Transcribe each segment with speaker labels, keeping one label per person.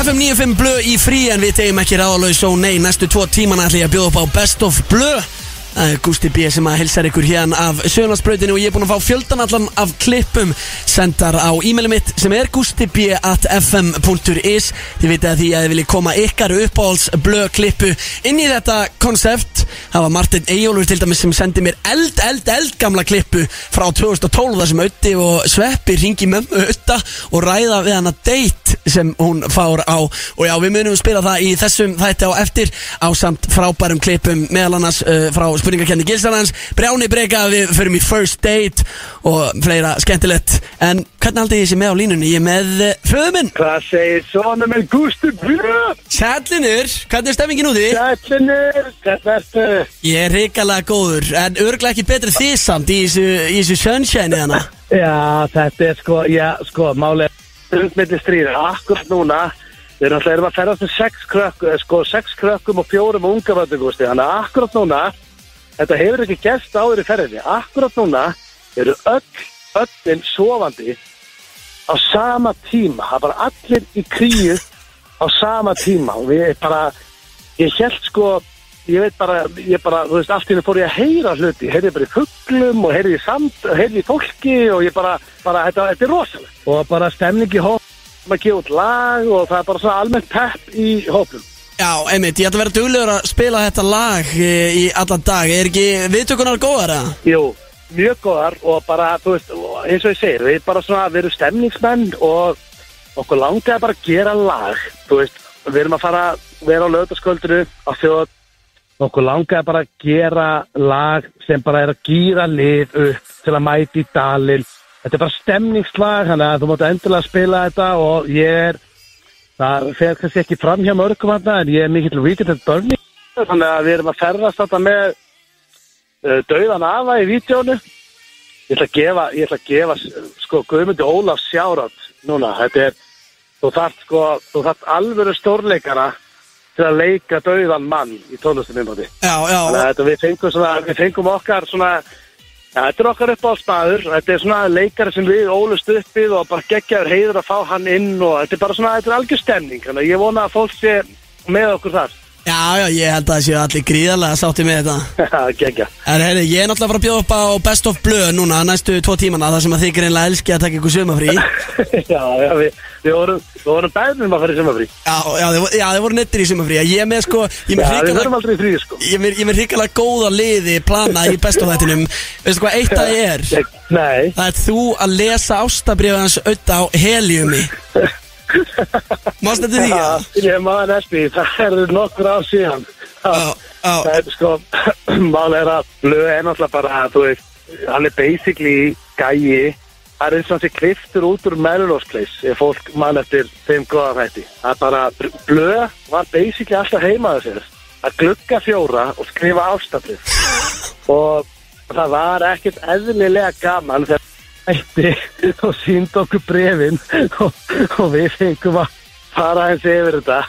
Speaker 1: FM95 blö í frí en við tegum ekki ráðalaus og nei, næstu tvo tíman ætla ég að bjóða upp á Best of blö Það er Gústi B. sem að hilsar ykkur hérna af Sjöðunarsbrautinu og ég er búinn að fá fjöldan allan af klippum sendar á e-maili mitt sem er gustib.fm.is Þið vitið að því að þið viljið koma ykkar uppáhalds blö klippu inn í þetta konsept Það var Martin Eyjólfur til dæmis sem sendi mér eld, eld, eld gamla klippu frá 2012 þar sem Ötti og Sveppi ringi mömmu Ötta og ræða við hana date sem hún fár á og já, við munum spila það í þessum þætti á eftir á samt frábærum klippum meðal annars uh, frá spurningakenni Gilsarans Brjáni Breka, við förum í First Date og fleira skemmtilegt en hvernig haldið ég sé með á línunni? Ég er með uh, föðuminn
Speaker 2: Hvað segir svona með Gusti Björn?
Speaker 1: Sætlinur, hvernig er stemmingin úti?
Speaker 2: Sætlinir, þetta ertu
Speaker 1: Ég er hrikalega góður, en örglega ekki betri því samt í þessu, í þessu sunshine hérna
Speaker 2: Já, þetta er sko, já, sko, málega Undmiðli stríðir, akkurat núna Við erum alltaf erum að ferðast með sex krökkum, sko, sex krökkum og fjórum unga völdu, Gusti Þannig að akkurat núna, þetta hefur ekki gerst áður í ferðinni Akkurat núna eru öll, öllin sofandi á sama tíma það er bara allir í kríu á sama tíma og við bara ég held sko ég veit bara, ég bara, þú veist, allt í henni fór ég að heyra hluti, heyrði bara í fugglum og heyrði í samt, heyrði í fólki og ég bara, bara, þetta, þetta er rosalega og bara stemningi hóp maður gefa út lag og það er bara svona almennt pepp í hópum
Speaker 1: Já, einmitt, ég ætla að vera duglegur að spila þetta lag eh, í allan dag Er ekki viðtökunar góðar eða?
Speaker 2: Jú, mjög góðar og bara, þú veist, og eins og ég segir, við bara svona, við erum stemningsmenn og okkur langaði bara að gera lag, þú veist, við erum að fara, við erum á lögðaskvöldinu á þjóð, okkur langaði bara að gera lag sem bara er að gýra lið upp til að mæti í dalinn, þetta er bara stemningslag, þannig að þú mátt endilega spila þetta og ég er, það fer kannski ekki fram hjá mörgum hann, en ég er mikill weekend burning, þannig að við erum að ferðast þetta með uh, dauðan afa í vídjónu ég ætla að gefa, ég ætla að gefa sko Guðmundi Ólaf sjárat núna, þetta er þú þarft sko, þú þarft alvöru stórleikara til að leika dauðan mann í tónlistum innbátti
Speaker 1: Já,
Speaker 2: þannig að
Speaker 1: já,
Speaker 2: þetta við fengum svona, við fengum okkar svona ja, þetta er okkar uppáhaldsmaður þetta er svona leikari sem við ólust uppið og bara geggjaður heiður að fá hann inn og þetta er bara svona, þetta er algjör stemning þannig að ég vona að fólk sé með okkur þar
Speaker 1: já, já, ég held að það séu allir gríðarlega sátti með þetta
Speaker 2: geggja
Speaker 1: En herri, ég er náttúrulega að fara að bjóða upp á Best of Blö núna næstu tvo tímana þar sem að þið greinlega elski að taka ykkur sömafrí
Speaker 2: já, já, við, við vorum, við vorum bæðnum að fara í sumafrí.
Speaker 1: Já, já, þið, vo- já, þið voru nettir í sömafrí Ég er með sko, ég er með
Speaker 2: Já, við
Speaker 1: hrikalega
Speaker 2: vorum aldrei í frí, sko.
Speaker 1: Ég er með- ég er með hrikalega góða liði planað í best of þættinum Veistu hvað eitt að ég er?
Speaker 2: Ég- Nei.
Speaker 1: Það er þú að lesa ástabrifið hans auðvitað á heliumi Mást þetta því
Speaker 2: Já,
Speaker 1: að?
Speaker 2: ég maður næstu, það eru nokkur ár síðan.
Speaker 1: Já, já.
Speaker 2: Það er sko, mál er að blöð er náttúrulega bara, þú veist, hann er basically gæi. Það er eins og hann sé kliftur út úr Melrose Place, ef fólk mann eftir þeim góða þætti. Það er bara, blöð var basically alltaf heimaðu sér. Að glugga fjóra og skrifa ástaflið. og það var ekkert eðlilega gaman þegar ætti og sínd okkur brefin og, og við fengum að fara eins yfir þetta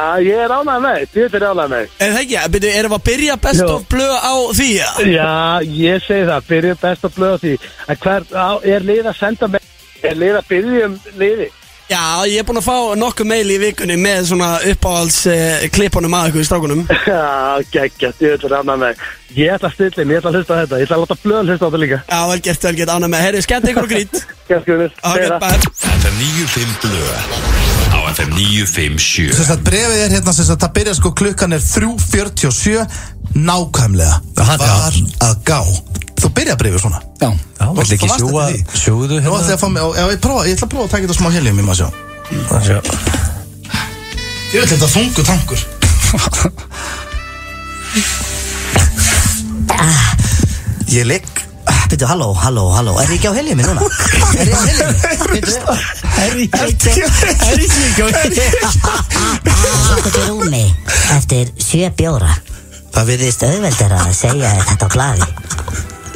Speaker 2: að ég er ánægð með, þetta, ég er ánægð með
Speaker 1: Er það ekki? Byrju, erum við að byrja best
Speaker 2: Jú.
Speaker 1: of blöð á því að?
Speaker 2: Já, ég segi það, byrjum best að blöða því að hver, á, er lið að senda með er lið að byrja um liði
Speaker 1: Já, ég er búin að fá nokkuð meil í vikunni með svona uppáhalds eh, klippunum að ykkur í strákunum
Speaker 2: Já, geggjast, ég er ánægð með Ég ætla að stilla, inn, ég ætla að hlusta á þetta ég ætla að láta blöðan hlusta á þetta líka
Speaker 1: Já, vel gert, vel gert, ánæg með Herri, skemmt ykkur og grít
Speaker 2: Ganski við
Speaker 1: Já, gert bara
Speaker 3: FM 95 Blö á FM 957
Speaker 4: Sérstætt brefið er hérna sérstætt Það byrja sko klukkan er 3.47 Nákvæmlega
Speaker 5: Aha, já.
Speaker 4: Var að gá Þú byrja brefið svona
Speaker 5: Já,
Speaker 4: Og
Speaker 5: vill
Speaker 4: þú
Speaker 5: ekki
Speaker 4: varst
Speaker 5: sjúga hérna?
Speaker 4: eftir því.
Speaker 5: sjúðu
Speaker 4: Nú ætla ég að fá mig og- já, Ég prófa- ég ætla að prófa að taka þetta smá heljum í maður sjá
Speaker 5: hérna
Speaker 4: Ég ætla þetta þungu tankur Ég ligg
Speaker 6: Býttu, halló, halló, halló, er ég ekki á heljumi núna? Er ég á heljumi? Býttu, er ég ekki
Speaker 1: Herri, ekki og
Speaker 6: Sett ekki rúmi eftir sjö bjóra
Speaker 4: Það við
Speaker 6: Viðst auðveldar að segja þér þetta á glaði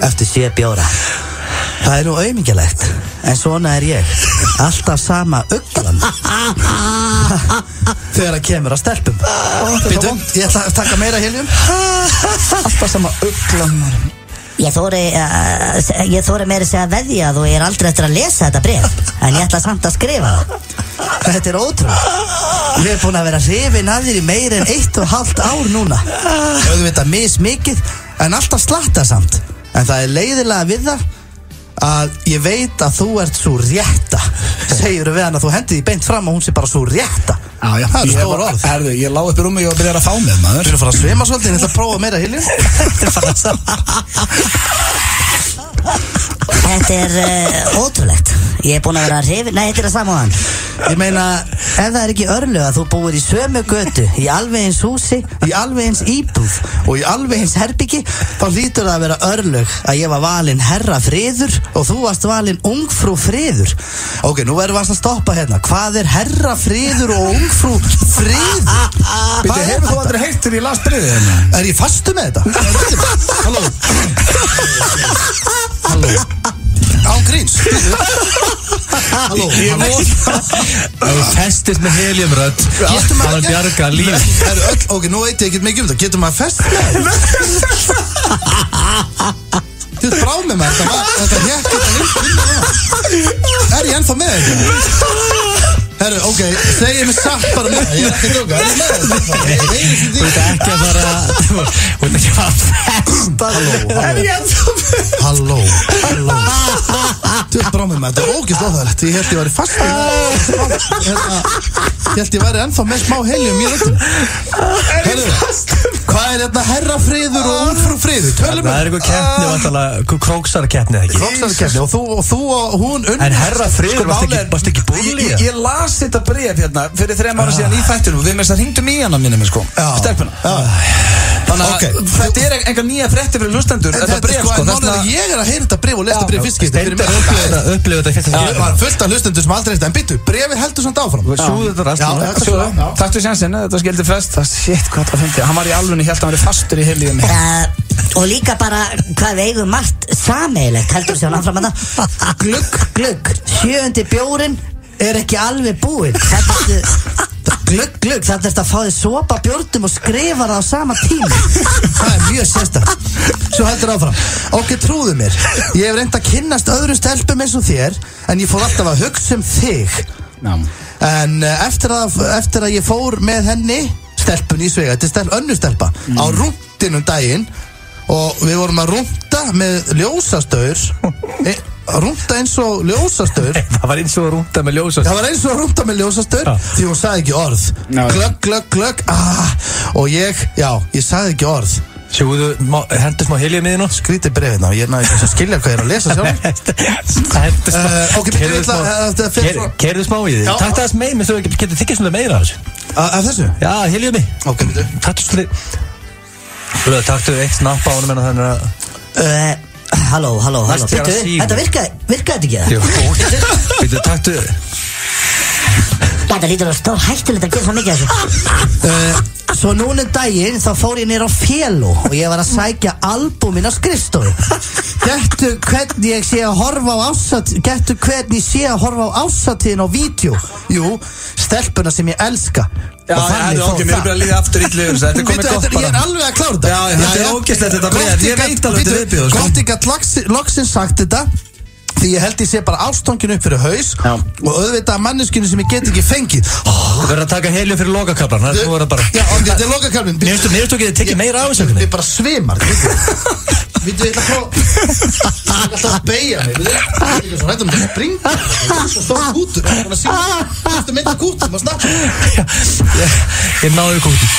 Speaker 6: Eftir sjö bjóra
Speaker 4: Það er nú auðmingjalegt
Speaker 6: En svona er ég
Speaker 4: Alltaf sama auglan Þegar það kemur að stelpum Býtu, ég ætla að taka meira heljum Alltaf sama auglan
Speaker 6: Ég þóri,
Speaker 5: eh,
Speaker 6: uh, ég þóri meira að segja að veðja að þú er aldrei eftir að lesa þetta bref En ég ætla samt að skrifa það Þetta er ótrúlega Við erum búin að vera hrifin að þér í meir en eitt og halvt ár núna Auðvitað mis mikið En alltaf slatta samt En það er leiðilega við það Að ég veit að þú ert svo rétta Segirðu við hann að þú hendið í beint fram Og hún sé bara svo rétta
Speaker 7: Já, já,
Speaker 6: Það eru stór orð
Speaker 7: Herðu, ég lá upp í rúmi og byrjar að fá með
Speaker 6: Við
Speaker 7: maður
Speaker 6: erum að fara að svima svolítið, ég ætla að prófa meira hilju Þetta er bara svo
Speaker 5: Þetta er uh, ótrúlegt Ég er búinn að vera hrifin Nei, þetta er að saman
Speaker 6: Ég meina, ef það er ekki örlög að þú búir í sömu götu Í alveg eins húsi, í alveg eins íbúð Og í alveg eins herbyggi Þá hlýtur það að vera örlög Að ég var valinn herra friður Og þú varst valinn ungfrú friður Ok, nú verðum við að stoppa hérna Hvað er herra friður og ungfrú friður?
Speaker 7: Býttu,
Speaker 6: Hvað er
Speaker 7: hefur þú
Speaker 6: þetta?
Speaker 7: aldrei heyrt þegar ég las breiðið hérna?
Speaker 6: Er ég fastu með þetta?
Speaker 7: Halló Halló Án gríns Halló
Speaker 6: Ég
Speaker 8: Ef þú festist með heliumrödd
Speaker 6: Getur
Speaker 8: Það
Speaker 6: maður
Speaker 8: er bjarga líf
Speaker 6: Er öll, ok, nú veit ég ekkert mikið um það Getur maður fest með það? Þú brá með maður Þetta var, þetta hér
Speaker 7: Er ég ennþá með þetta? Herru, ok, segið mér satt bara með það Ég er ekki að djóka, er ég með þetta? Ég veit ekki
Speaker 8: Þú
Speaker 7: því
Speaker 8: veit ekki að fara Þú veit ekki að festa
Speaker 7: Halló, halló Þú er brámið með þetta, ógist óþægilegt Ég held ég væri fast í- Hérna, Ég held ég væri ennþá með smá heljum í röndum Herðu, hvað er þetta herra friður og úrfrú friður? Tölum
Speaker 8: Það er eitthvað
Speaker 1: Ah.
Speaker 8: keppni vantalega Eitthvað króksara keppni eða ekki
Speaker 7: Roksarkerni og þú og þú og hún Sko, unn
Speaker 8: En herra friður, varstu ekki- varstu ekki búlið?
Speaker 9: Ég, ég las þetta bref hérna fyrir þrejum ára síðan í þættunum og við með þess að hringdum í hana minni með sko stelpuna Þannig að
Speaker 7: Ok.
Speaker 9: þetta er enga nýja frétti fyrir hlustendur
Speaker 7: Þetta
Speaker 9: Þetta bref sko
Speaker 7: Málið
Speaker 9: þess
Speaker 7: er
Speaker 9: að
Speaker 7: að ég er að heyra þetta bref og lesta bref fyrst skytti fyrir
Speaker 8: Steindar
Speaker 7: mig
Speaker 8: upplifði þetta- upplifði þetta í fyrsta
Speaker 7: Það
Speaker 8: skipti.
Speaker 7: var fullt af hlustendur sem aldrei eftir En byttu, brefið heldur samt áfram
Speaker 8: Sjúðu þetta rast
Speaker 7: Já,
Speaker 8: núna.
Speaker 7: þetta
Speaker 9: Sjóðu,
Speaker 7: sjóðu Já.
Speaker 9: Takktu sjansinn, þetta skildi fest Það shit hvað það fyndi, hann var í alvunni, held að hann var fastur í helíðinni
Speaker 5: uh, Og líka bara hvað við eigum margt sameigilegt Heldur sér hann áfram að það Glugg, glugg
Speaker 6: Sjöundi bjórin er ekki alveg búinn Þetta er Glugg, glugg, þetta er að fá þið sopa bjórnum og skrifa það á sama tíma Það er mjög sérstakt Svo heldur áfram Ok, trúðu mér Ég hef reynd að kynnast öðrum stelpum eins og þér En ég fór alltaf að hugsa um þig En eh, eftir að, eftir að ég fór með henni Stelpun í svega, þetta er stelp, önnu stelpa Á rúntinum daginn Og við vorum að rúnta með ljósastaur e, Rúnta eins og ljósastaur
Speaker 8: Það var eins og að rúnda með ljósa
Speaker 7: Það var eins og að rúnta með ljósastaur
Speaker 8: Já.
Speaker 7: Því hún sagði ekki orð Glögg, glögg, glögg ah, Og ég, já, ég sagði ekki orð
Speaker 8: Sjúðu, hendur smá helium í þínu
Speaker 7: Skrítið brefið ná, ég er náttúrulega ekki að skilja hvað ég er að lesa sjálf
Speaker 8: Hendur smá
Speaker 7: Eh, ok, ég ætla- eh, þetta fer
Speaker 8: Keirðu-
Speaker 7: frá-
Speaker 8: Keirðu smá í því
Speaker 7: Já.
Speaker 8: Takk það aðeins meir, menn þú getur þykist svona meira af þessu
Speaker 7: Af af þessu?
Speaker 8: Já, heliumi
Speaker 7: Ok, byrju.
Speaker 8: Taktu svolítið Bröðu, taktu eitt snapp á honum en þannig að
Speaker 6: uh,
Speaker 5: Eh,
Speaker 6: Halló, halló, halló
Speaker 8: Næst er að
Speaker 6: Bíddu,
Speaker 8: sígur.
Speaker 6: Þetta virkaði, virkaði þetta ekki
Speaker 8: Jú, Býttu, taktu
Speaker 5: Þetta lítur að stór hættulegt að gera svo mikið af þessu
Speaker 6: uh, Svo núna um daginn þá fór ég nýr á fjellu og ég var að sækja albumin á skrifstofu Gettu hvernig ég sé að horfa á ásat Gettu hvernig ég sé að horfa á ásatíðin á vídeo Jú, stelpuna sem ég elska
Speaker 9: Já,
Speaker 6: Og
Speaker 9: já,
Speaker 6: þannig
Speaker 9: já,
Speaker 6: fór
Speaker 9: ok, mér er bara að líða aftur í liðum Þetta er komið
Speaker 7: Bíddu,
Speaker 9: gott
Speaker 7: þetta- Ég er
Speaker 9: bara
Speaker 7: alveg að klára þetta
Speaker 9: Já, já, þetta er ógeðslegt þetta bréf. Ég veit alveg þetta viðbjóður, sko.
Speaker 7: Gott ég gætt loksins sagt þetta Því ég held ég sé bara ástangin upp fyrir haus Og auðvitað manneskinu sem ég get ekki fengið
Speaker 8: Þú verður að taka helium fyrir lokakablan Það er þú verður bara
Speaker 7: Já, ok, þetta er lokakalmin
Speaker 8: Mér finnst- mér finnst þú getið tekið meira á þessu einhvern
Speaker 7: Við
Speaker 8: veginn.
Speaker 7: bara svimar Við þú, ég ætla að prófa Ég ætla alltaf að beigja mig Við þú, ég ætla um að springa Ég er svo stór kútur Það er að síma Þetta mynda kútur, maður snakka
Speaker 8: Ég náðu kúti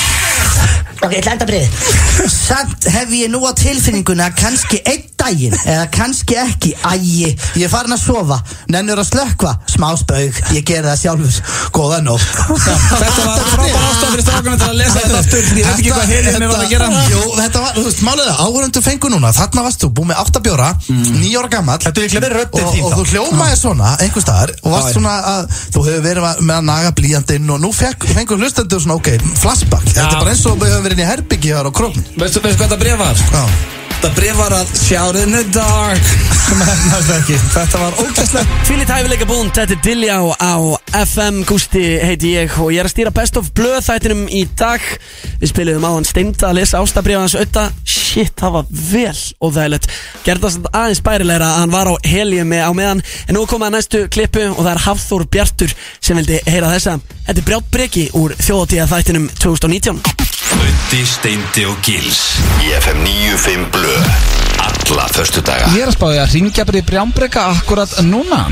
Speaker 5: Ok, ég ætla að enda breyði
Speaker 6: Samt hef ég nú á tilfinninguna að kannski einn daginn eða kannski ekki Æi, ég er farin að sofa Nennur að slökva, smá spaug Ég gera það sjálfur, góða nótt
Speaker 9: Þetta var frábæð ástæð fyrir strákunum til að lesa þetta aftur Ég veit ekki hvað helíðinni var að gera
Speaker 7: Jú, þetta var, þú veist, málega Áhörundu fengu núna Þarna varst þú búið með 8 bjóra
Speaker 9: Mm.
Speaker 7: 9 ára gamall
Speaker 8: Þetta er líklega verið röddin
Speaker 7: og,
Speaker 8: þín
Speaker 7: og þú
Speaker 8: þá.
Speaker 7: hljómaði svona einhver staðar og varst svona að þú hefur verið að- með að naga blíjandinn og nú fekk, fengur hlustendur svona ok, flashback þetta er bara eins og við höfum verið inn í herbyggi hér á krókn
Speaker 9: Veistu veistu hvað þetta bref var?
Speaker 7: já,
Speaker 10: Það bref var að Shout in the dark sem hefnast ekki Þetta var ógæslega
Speaker 1: Fyllit hæfileika búnd, þetta er Dilljá á FM Gústi heiti ég og ég er að stýra Best of Blöð þættinum í dag Við spilum áðan steinda að lesa ástabrið hans auðta Shit, það var vel óþægilegt Gerða samt aðeins bærilegra að hann var á heljum á meðan En nú er komið að næstu klippu og það er Hafþór Bjartur sem vildi heyra þessa Þetta er Brjátt Breki úr þjóðatíða þættinum 2019
Speaker 3: Ötti, Steindi og Gils Í FM 95 Blö Alla förstu daga
Speaker 9: Ég er að spáði að ringja bara í brjánbreka akkurat núna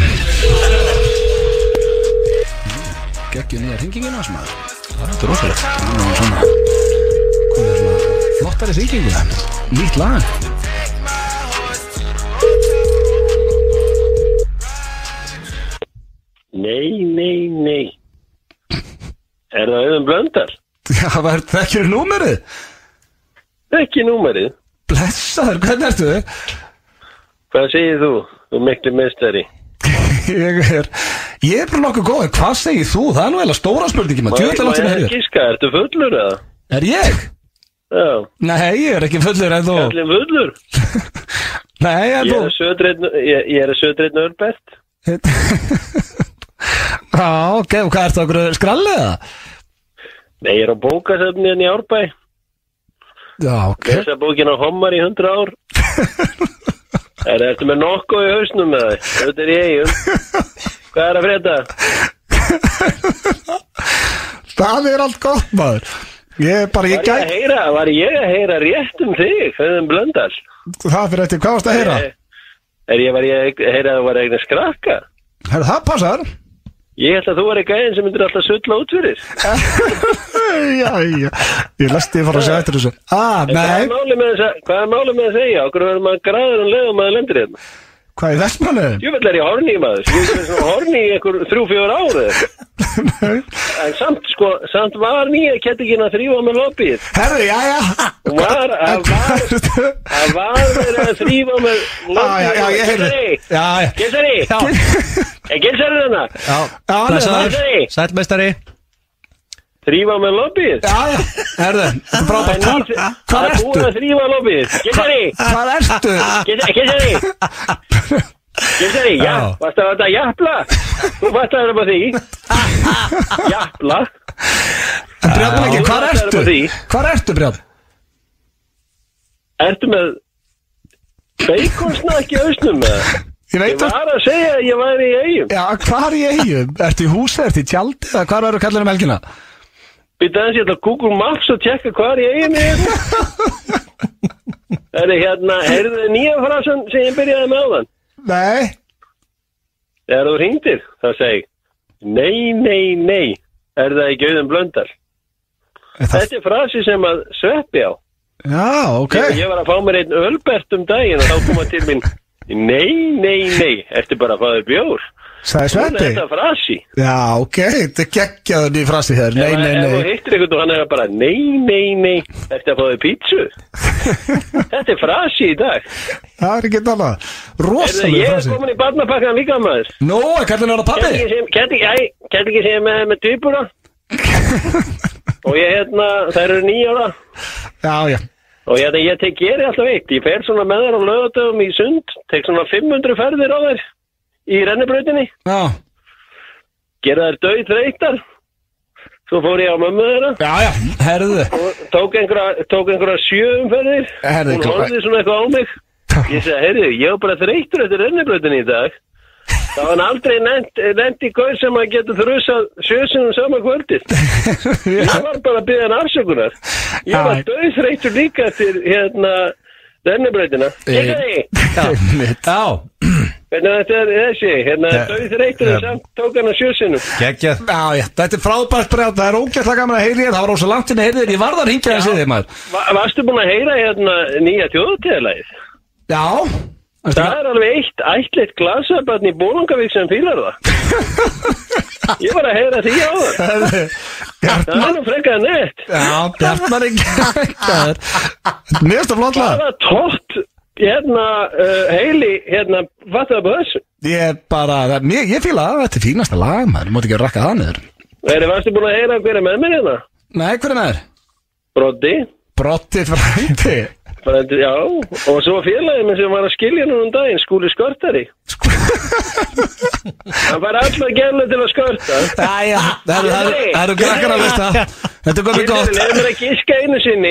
Speaker 9: Gekkið nýja ringingina sem að Það er rosalegt Nú er svona Komið er svona flottari ringingu Nýtt lag
Speaker 11: Nei, nei, nei Er það auðvitað blöndar?
Speaker 9: Já, það er þekkjur númerið
Speaker 11: Ekki númerið
Speaker 9: Blessaður, hvernig ertu?
Speaker 11: Hvað segir þú? Þú er miklu mestari
Speaker 9: Ég er Ég er bara nokkuð góð en Hvað segir þú? Það er nú eða stóra spurningi maður Djöfull er langt sem
Speaker 11: ég
Speaker 9: ég hefur
Speaker 11: gíska? Ertu fullur eða?
Speaker 9: Er ég?
Speaker 11: Já
Speaker 9: Nei, ég er ekki fullur en þú
Speaker 11: Kallinn fullur?
Speaker 9: Nei, en
Speaker 11: Ég
Speaker 9: þú
Speaker 11: er að södreitn Ég ég er að södreitn Örbert
Speaker 9: Já, ok, og hvað ertu okkur skralliða?
Speaker 11: Nei, ég er á bókasöfni en í Árbæ
Speaker 9: Já, ok
Speaker 11: Þessa bókin á homar í 100 ár Er það eftir með nokkuð í hausnum með það? Þetta er ég, jú Hvað er að frétta?
Speaker 9: Það er allt gott maður Ég er bara,
Speaker 11: Var
Speaker 9: ég
Speaker 11: ég að
Speaker 9: gæt
Speaker 11: heyra, var ég að heyra rétt um þig, Föðum Blöndal? Eh,
Speaker 9: Það fyrir eftir, hvað varst að heyra?
Speaker 11: Er ég var ég að heyra að þú var eigin að skrakka?
Speaker 9: Herra, það passar
Speaker 11: Ég held að þú var ekki aðeins sem myndir alltaf sulla út fyrir.
Speaker 9: Já, já Ég lesti ég fara að segja eftir þessu Ah,
Speaker 11: En Hvað er
Speaker 9: nei,
Speaker 11: málið með þess að, hvað er málið með að segja? Okkur verður maður græður um leið og maður lendir hérna.
Speaker 9: hvað er þess manni?
Speaker 11: Jú, vel er ég horni í maður. Ég er svona horni í einhver þrjú, fjóður árið. en samt, sko, samt var nýja kettingin að þrýfa með lobbyið.
Speaker 9: Herra, já, já
Speaker 11: Hún Var, að var, að var verið að þrýfa með
Speaker 9: Já, já,
Speaker 11: lobbyið.
Speaker 9: já, ég heyrði Já, já
Speaker 11: Gilsari,
Speaker 9: Já,
Speaker 11: er Gilsari þarna?
Speaker 9: já, já,
Speaker 11: Gilsari,
Speaker 9: blessaður.
Speaker 8: Sælmestari
Speaker 11: þrýfa með lobbyið.
Speaker 9: já, já Herðu, frábært
Speaker 11: Það er
Speaker 9: Hvar-
Speaker 11: ný- það
Speaker 9: Hvar
Speaker 11: er búið
Speaker 9: ertu?
Speaker 11: að þrýfa lobbyið. Gilsari,
Speaker 9: Hvar ertu?
Speaker 11: Gessari Gessari, já,
Speaker 9: Já.
Speaker 11: varstu að þetta jafla? Þú varst að vera bara því Jafla
Speaker 9: Brjáln ekki,
Speaker 11: Já,
Speaker 9: hvar
Speaker 11: það er
Speaker 9: ertu?
Speaker 11: bara því.
Speaker 9: Hvar ertu, Brjáln?
Speaker 11: Ertu með Beikonsnakki ausnum með
Speaker 9: Ég
Speaker 11: Ég
Speaker 9: veit að
Speaker 11: var að segja að ég væri í eigum
Speaker 9: Já, hvar í eigum? Ertu í húsi, ertu í tjaldi eða hvar verður kallar um helgina?
Speaker 11: Býta aðeins ég ætla að Google Maps og tjekka hvað er í eigum ég er Það er hérna, heyrðu þið nýja frasan sem ég byrjaði með áðan
Speaker 9: Nei,
Speaker 11: Þegar þú hringdir, þá segi ég, Nei, nei, nei, er það ekki auðum blöndar Þetta er frasi sem að sveppi á
Speaker 9: já, ok
Speaker 11: Ég, ég var að fá mér einn ölbert um daginn og þá kom hann til mín Nei, nei, nei, ertu bara að fá þér bjór Svona
Speaker 9: Sæði
Speaker 11: er
Speaker 9: Sveppi
Speaker 11: þetta frasi
Speaker 9: Já, ok, þetta er geggjaður ný frasi hér Nei,
Speaker 11: Ef-
Speaker 9: nei,
Speaker 11: Ef þú
Speaker 9: nei
Speaker 11: hittir einhvern og hann er bara Nei, nei, nei, ertu að fá þér pítsu Þetta er frasi í dag
Speaker 9: Það er ekki annað
Speaker 11: Heyrðu,
Speaker 9: Rosalega
Speaker 11: Ég er
Speaker 9: frasi
Speaker 11: komin í barnapakkan líka maður
Speaker 9: Nó, er kallin ára pappi?
Speaker 11: Kætti ekki segja með, með dýpura Og ég hérna, þær eru nýjára
Speaker 9: Já, já
Speaker 11: Og ég, ég tek geri alltaf eitt, ég fer svona með þær á lögadöfum í sund, tek svona 500 ferðir á þær í rennibrautinni,
Speaker 9: Já,
Speaker 11: gera þær döið þreytar, svo fór ég á mömmu þeirra
Speaker 9: já, já, herðu
Speaker 11: og tók einhverja, tók einhverja sjöumferðir,
Speaker 9: Herðu,
Speaker 11: hún
Speaker 9: hvað-
Speaker 11: horfði svona eitthvað á mig, ég segi, heyrðu, ég var bara þreytur eftir rennibrautinni í dag, þá var hann aldrei nefnt, nefnt í gauð sem að geta þrjusað sjösunum sama kvöldið, ég var bara að byggja hann afsökunar, ég var
Speaker 9: Já.
Speaker 11: döið þreytur líka eftir hérna rennibrautina, ég segi,
Speaker 9: Einmitt.
Speaker 8: Já,
Speaker 11: Hvernig þetta er þessi, hérna
Speaker 8: Ja.
Speaker 11: dauð reytur
Speaker 8: Ja.
Speaker 11: þess að tók hann á sjösinum.
Speaker 8: geggjað
Speaker 9: Já, já, þetta er frábært brjátt Það er ógætla gaman að heyri þér Það var rosa langt inn að heyri þér Ég varð að ringja þessi þig maður
Speaker 11: Va varstu búin að heyra hérna nýja þjóðutíðalæð?
Speaker 9: Já Veistu
Speaker 11: Það er alveg eitt ætlitt glasabarn í Bólungavík sem fýlar það. Ég var að heyra því á það.
Speaker 9: hvað?
Speaker 11: Það
Speaker 9: Herðu,
Speaker 11: er
Speaker 9: Bjartmar
Speaker 11: nú frekar nett.
Speaker 9: Já, Bjartmar er geggjaður Mér finnst það flottlega
Speaker 11: Það var tótt hérna uh, heili, hérna vatnaði på þessu.
Speaker 9: Ég bara, það- mér, ég fíla að þetta er fínasta lag maður, ég móti ekki að rakka það niður
Speaker 11: Þegar varstu búin að heyra hverja með mér hérna?
Speaker 9: Nei, hver er maður?
Speaker 11: Broddi,
Speaker 9: Brotti frændi
Speaker 11: Frændi, já, og svo félagið minn sem var að skilja núna um daginn, skúli skörtari. Hann var alltaf gerlega til að skörta.
Speaker 2: Æja, það eru- það eru- það eru krakkar að veist það Þetta er komið gott
Speaker 11: Leðum við að gíska einu sinni,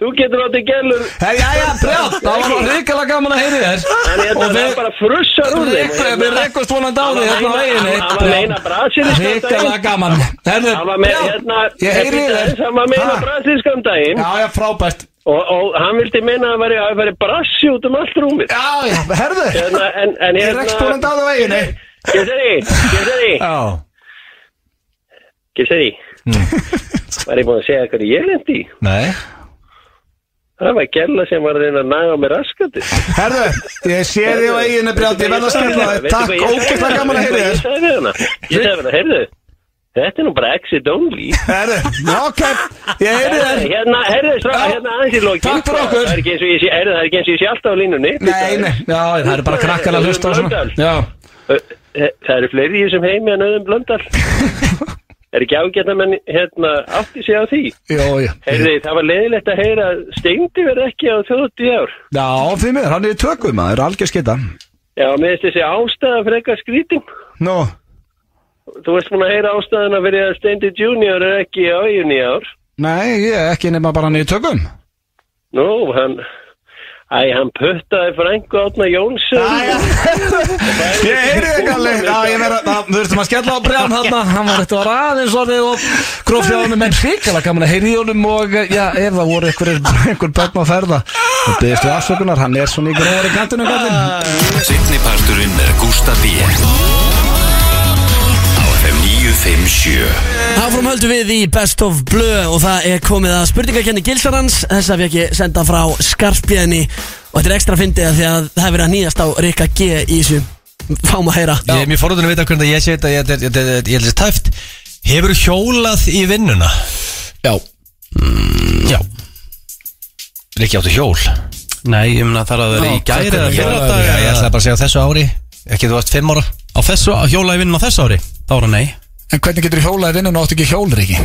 Speaker 11: þú getur átti gerlur.
Speaker 2: Jæja, brjátt, það var hrikalega gaman að heyri þér
Speaker 11: Þannig að það bara frussar úr þeim.
Speaker 2: Rekur- Við rekkumst vonandi á því hérna á veginni
Speaker 11: Hann var að meina brasilískan daginn.
Speaker 2: Hrikalega gaman Herðu,
Speaker 11: Hann var með,
Speaker 2: brjátt,
Speaker 11: hérna,
Speaker 2: Ég heyri
Speaker 11: hérna,
Speaker 2: þér
Speaker 11: hann var meina
Speaker 2: Ha?
Speaker 11: brasilískan daginn.
Speaker 2: Já, já, frábært.
Speaker 11: Og, og hann vildi meina að það væri- að það væri brassi út um allt rúmið.
Speaker 2: Já, já, herðu.
Speaker 11: Hérna, en, en
Speaker 2: Ég
Speaker 11: hérna.
Speaker 2: rekst vonandi á því á veginni
Speaker 11: Gesseri, Gesseri.
Speaker 2: Já. Hmm.
Speaker 11: Gesseri. Var ég búin að segja hvernig ég lendi í?
Speaker 2: Nei
Speaker 11: Það var Gjalla sem var að reyna að naga mig raskandi.
Speaker 2: Herðu, ég sé þig á eiginu brjátt, ég verð að skella þig Takk, ógeðslega gaman að heyri
Speaker 11: Ég
Speaker 2: þér
Speaker 11: sagði við hana, ég sagði við hana, heyrðu, þetta er nú bara exit only.
Speaker 2: Herðu, ok, ég heyri þér
Speaker 11: Hérna, heyrðu, stráka, hérna aðeins í lokin.
Speaker 2: Takk fyrir okkur.
Speaker 11: Það er ekki eins og ég sé, heyrðu, það er ekki eins og ég sé alltaf á línunni.
Speaker 2: Nei, nei, já, það eru bara krakkar að hlusta og svona Já,
Speaker 11: Það eru fleiri í þessum heimi en auðum blöndal. er ekki ágætt að menn, hérna, átti sig á því.
Speaker 2: já, já
Speaker 11: Heyrðu, það var leiðilegt að heyra, að steindi verið ekki á 30 ár.
Speaker 2: Já, því miður, hann er í tökum, það er algjör skita
Speaker 11: Já, mér finnst þessi ástæða frekar skrítum.
Speaker 2: Nú,
Speaker 11: Þú veist múin að heyra ástæðuna fyrir að Steindi Junior er ekki á eigin í ár.
Speaker 2: nei, ég er ekki nema bara hann er í tökum
Speaker 11: Nú, hann... Æ, hann puttaði frængu átna Jónsson. Æja.
Speaker 2: Ég heyri þig Kalli Já, ég meira, það- við þurftum að skella á brján hérna Hann var þetta var aðeins orðið og grófið á honum En hrikalega gaman að heyri í honum Og eh, já, ef það voru einhver, einhver bönn á ferða Það byggðist við afsökunar, hann er svona í gróðar í kantinu kallinn
Speaker 3: Seinni parturinn með Gústa B Á FM 957
Speaker 1: Áfram höldum við í Best of Blö og það er komið að spurningakenni Gilsarans þess að við ekki senda frá skarpjæðinni og þetta er ekstra fyndið af því að það hefur verið að nýjast á Rikka G í þessu fáum að heyra
Speaker 8: Ég er mér forðun að vita hvernig að ég sé þetta Ég held að þetta er tæft Hefur hjólað í vinnuna? Já mm, Já Rikki áttu hjól Nei, ég meina þar að
Speaker 9: vera í gær eða fyrradag eða-
Speaker 8: Ég ætlaði bara að segja á þessu ári Ekki þú varst fimm ára Á þessu, á hjóla í vinnuna á þessu ári? Þá var það nei
Speaker 9: En hvernig getur hjólaði vinnun og átt ekki hjólur ekki?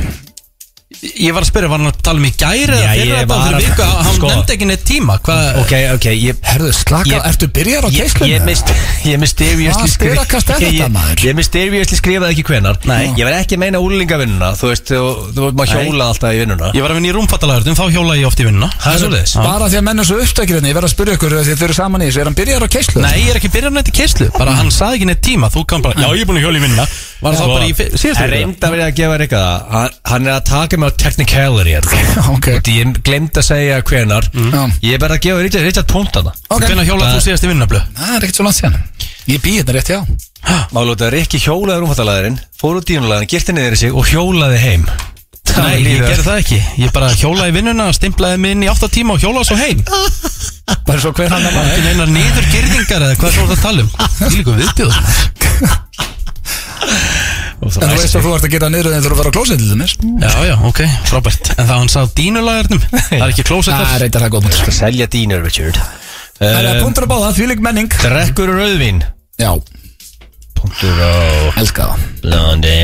Speaker 8: Ég var að spyrja, var hann að tala um í gæri eða
Speaker 9: Já, ég
Speaker 8: fyrir þetta
Speaker 9: var
Speaker 8: fyrir
Speaker 9: að-
Speaker 8: viku, hann
Speaker 9: sko.
Speaker 8: nefndi ekki neitt tíma Hvað? Ok, ok, ég Herðu,
Speaker 9: slaka- ertu byrjar á geislunni,
Speaker 8: Ég, ég
Speaker 9: eða?
Speaker 8: mist, ég mist
Speaker 9: Hvað styrakast er þetta, maður?
Speaker 8: Ég mist yfirjörsli skrifaði ekki hvenar Nei Ég var ekki að meina úlingavinnuna, þú veist, þú, þú maður
Speaker 9: Nei.
Speaker 8: hjóla alltaf í vinnuna Ég var að vinna í rúmfattalæðurðum, þá hjóla ég oft í vinnuna Það er svoleiðis
Speaker 9: Bara því að menn er svo upptækir hérna, ég verð að spyrja ykkur því að þið eru saman í þessu, er hann byrjar á keislu?
Speaker 8: Nei, ég er ekki byrjað nætti keislu Bara hann saði ekki neitt tíma Þú kom bara, já ég er búin að hjóla í minna Var það
Speaker 9: Sko,
Speaker 8: bara í fyr- síðustu
Speaker 9: er
Speaker 8: reynd að vera að gefa Rikka það Hann- Hann er að taka mig á technicality hérna. okay. Því Ég glemt að segja hvenar Ég er bara að gefa Richard, Richard punkt hana
Speaker 9: Mm. Ok. Hvenær hjólaðir þú
Speaker 8: síðast í vinnablu?
Speaker 9: Það er ekkert svo langt síðan Ég býð hérna rétt, já
Speaker 8: Málúta, Rikki hjólaði rúmfattalæðurinn Fór út dínulæðin, girti niður í sig og hjólaði heim
Speaker 9: Nei, ég gerði það
Speaker 8: ekki Ég bara hjólaði vinnuna, stimplaði mig inn í 8 tíma og hjólaði svo heim
Speaker 9: Bara svo hver hann er
Speaker 8: Ekki neina niður girðingar eða hvað er það að tala um Ég líka viðbjóð
Speaker 9: En þú veist að þú ert að gera niður þegar þú eru að fara á klósið til þeimis
Speaker 8: Já, já, ok, frábært En það hann sá dínulagarnum Það er ekki klósett
Speaker 9: Það er
Speaker 8: reyndar það góð mútur Selja dínur, Richard
Speaker 9: Það er punktur að báða, því lík menning
Speaker 8: Eh, Drekkur rauðvin
Speaker 9: Já
Speaker 8: Punktur á
Speaker 9: Elska það
Speaker 8: Blondale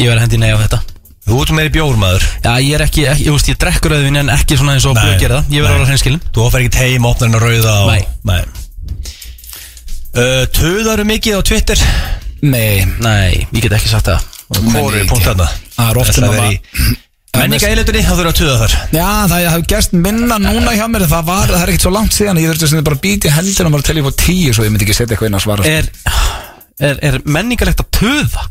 Speaker 8: Ég verði hendi nei á þetta Þú ert meiri bjórmaður Já, ég er ekki, ekki ég, veist, ég drekkur rauðvin en ekki svona eins og blöð gera það Ég verði ára hreinskilin Þú ofar ekkert heim, opnar hennar rauða og... Nei, nei. Uh, Töðaru mikið á Twitter
Speaker 9: Nei
Speaker 8: Nei, ég get ekki sagt það Hvor
Speaker 9: Nei,
Speaker 8: er
Speaker 9: ekki.
Speaker 8: punkt þarna?
Speaker 9: Það er oft
Speaker 8: Ætlaði
Speaker 9: um að
Speaker 8: að vera í- Menninga eilutinni, þá þurfa að töða þar
Speaker 9: Já, það hefur gerst minna núna hjá mér Það var, það er ekkert svo langt síðan Ég þurfti að bara býti hendina og bara telja upp á tíu Svo ég myndi ekki setja eitthvað inn að svara
Speaker 8: er, er, er menningarlegt að töða?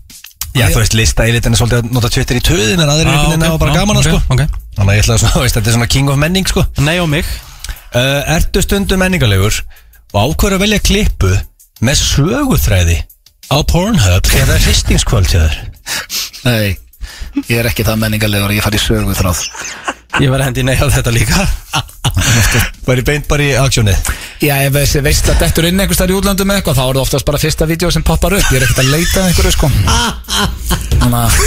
Speaker 8: Já, þú veist, lista eilitin er svolítið að nota Twitter í töðin en
Speaker 9: Ah,
Speaker 8: aðrir er einhvern veginn
Speaker 9: ok,
Speaker 8: að hafa bara
Speaker 9: ah,
Speaker 8: gaman að
Speaker 9: ok,
Speaker 8: sko Þannig að ég ætla að svona, þú veist, þetta er svona king of menning sko Nei og mig uh, Ertu stundum menningarlegur og ákveður að velja klippu með söguþræði á Pornhub þegar það er hristingskvöld hjá þér
Speaker 9: Nei, ég er ekki það menningarlegur Ég fari í sögu þráð
Speaker 8: Ég var hendi nei á þetta líka Var ég beint bara í aksjónið
Speaker 9: Já, ef þessi veist að dettur inn einhvers þar í útlandum eða eitthvað Þá er það oftast bara fyrsta vídeo sem poppar upp Ég er ekkert að leita að einhverju sko Þannig að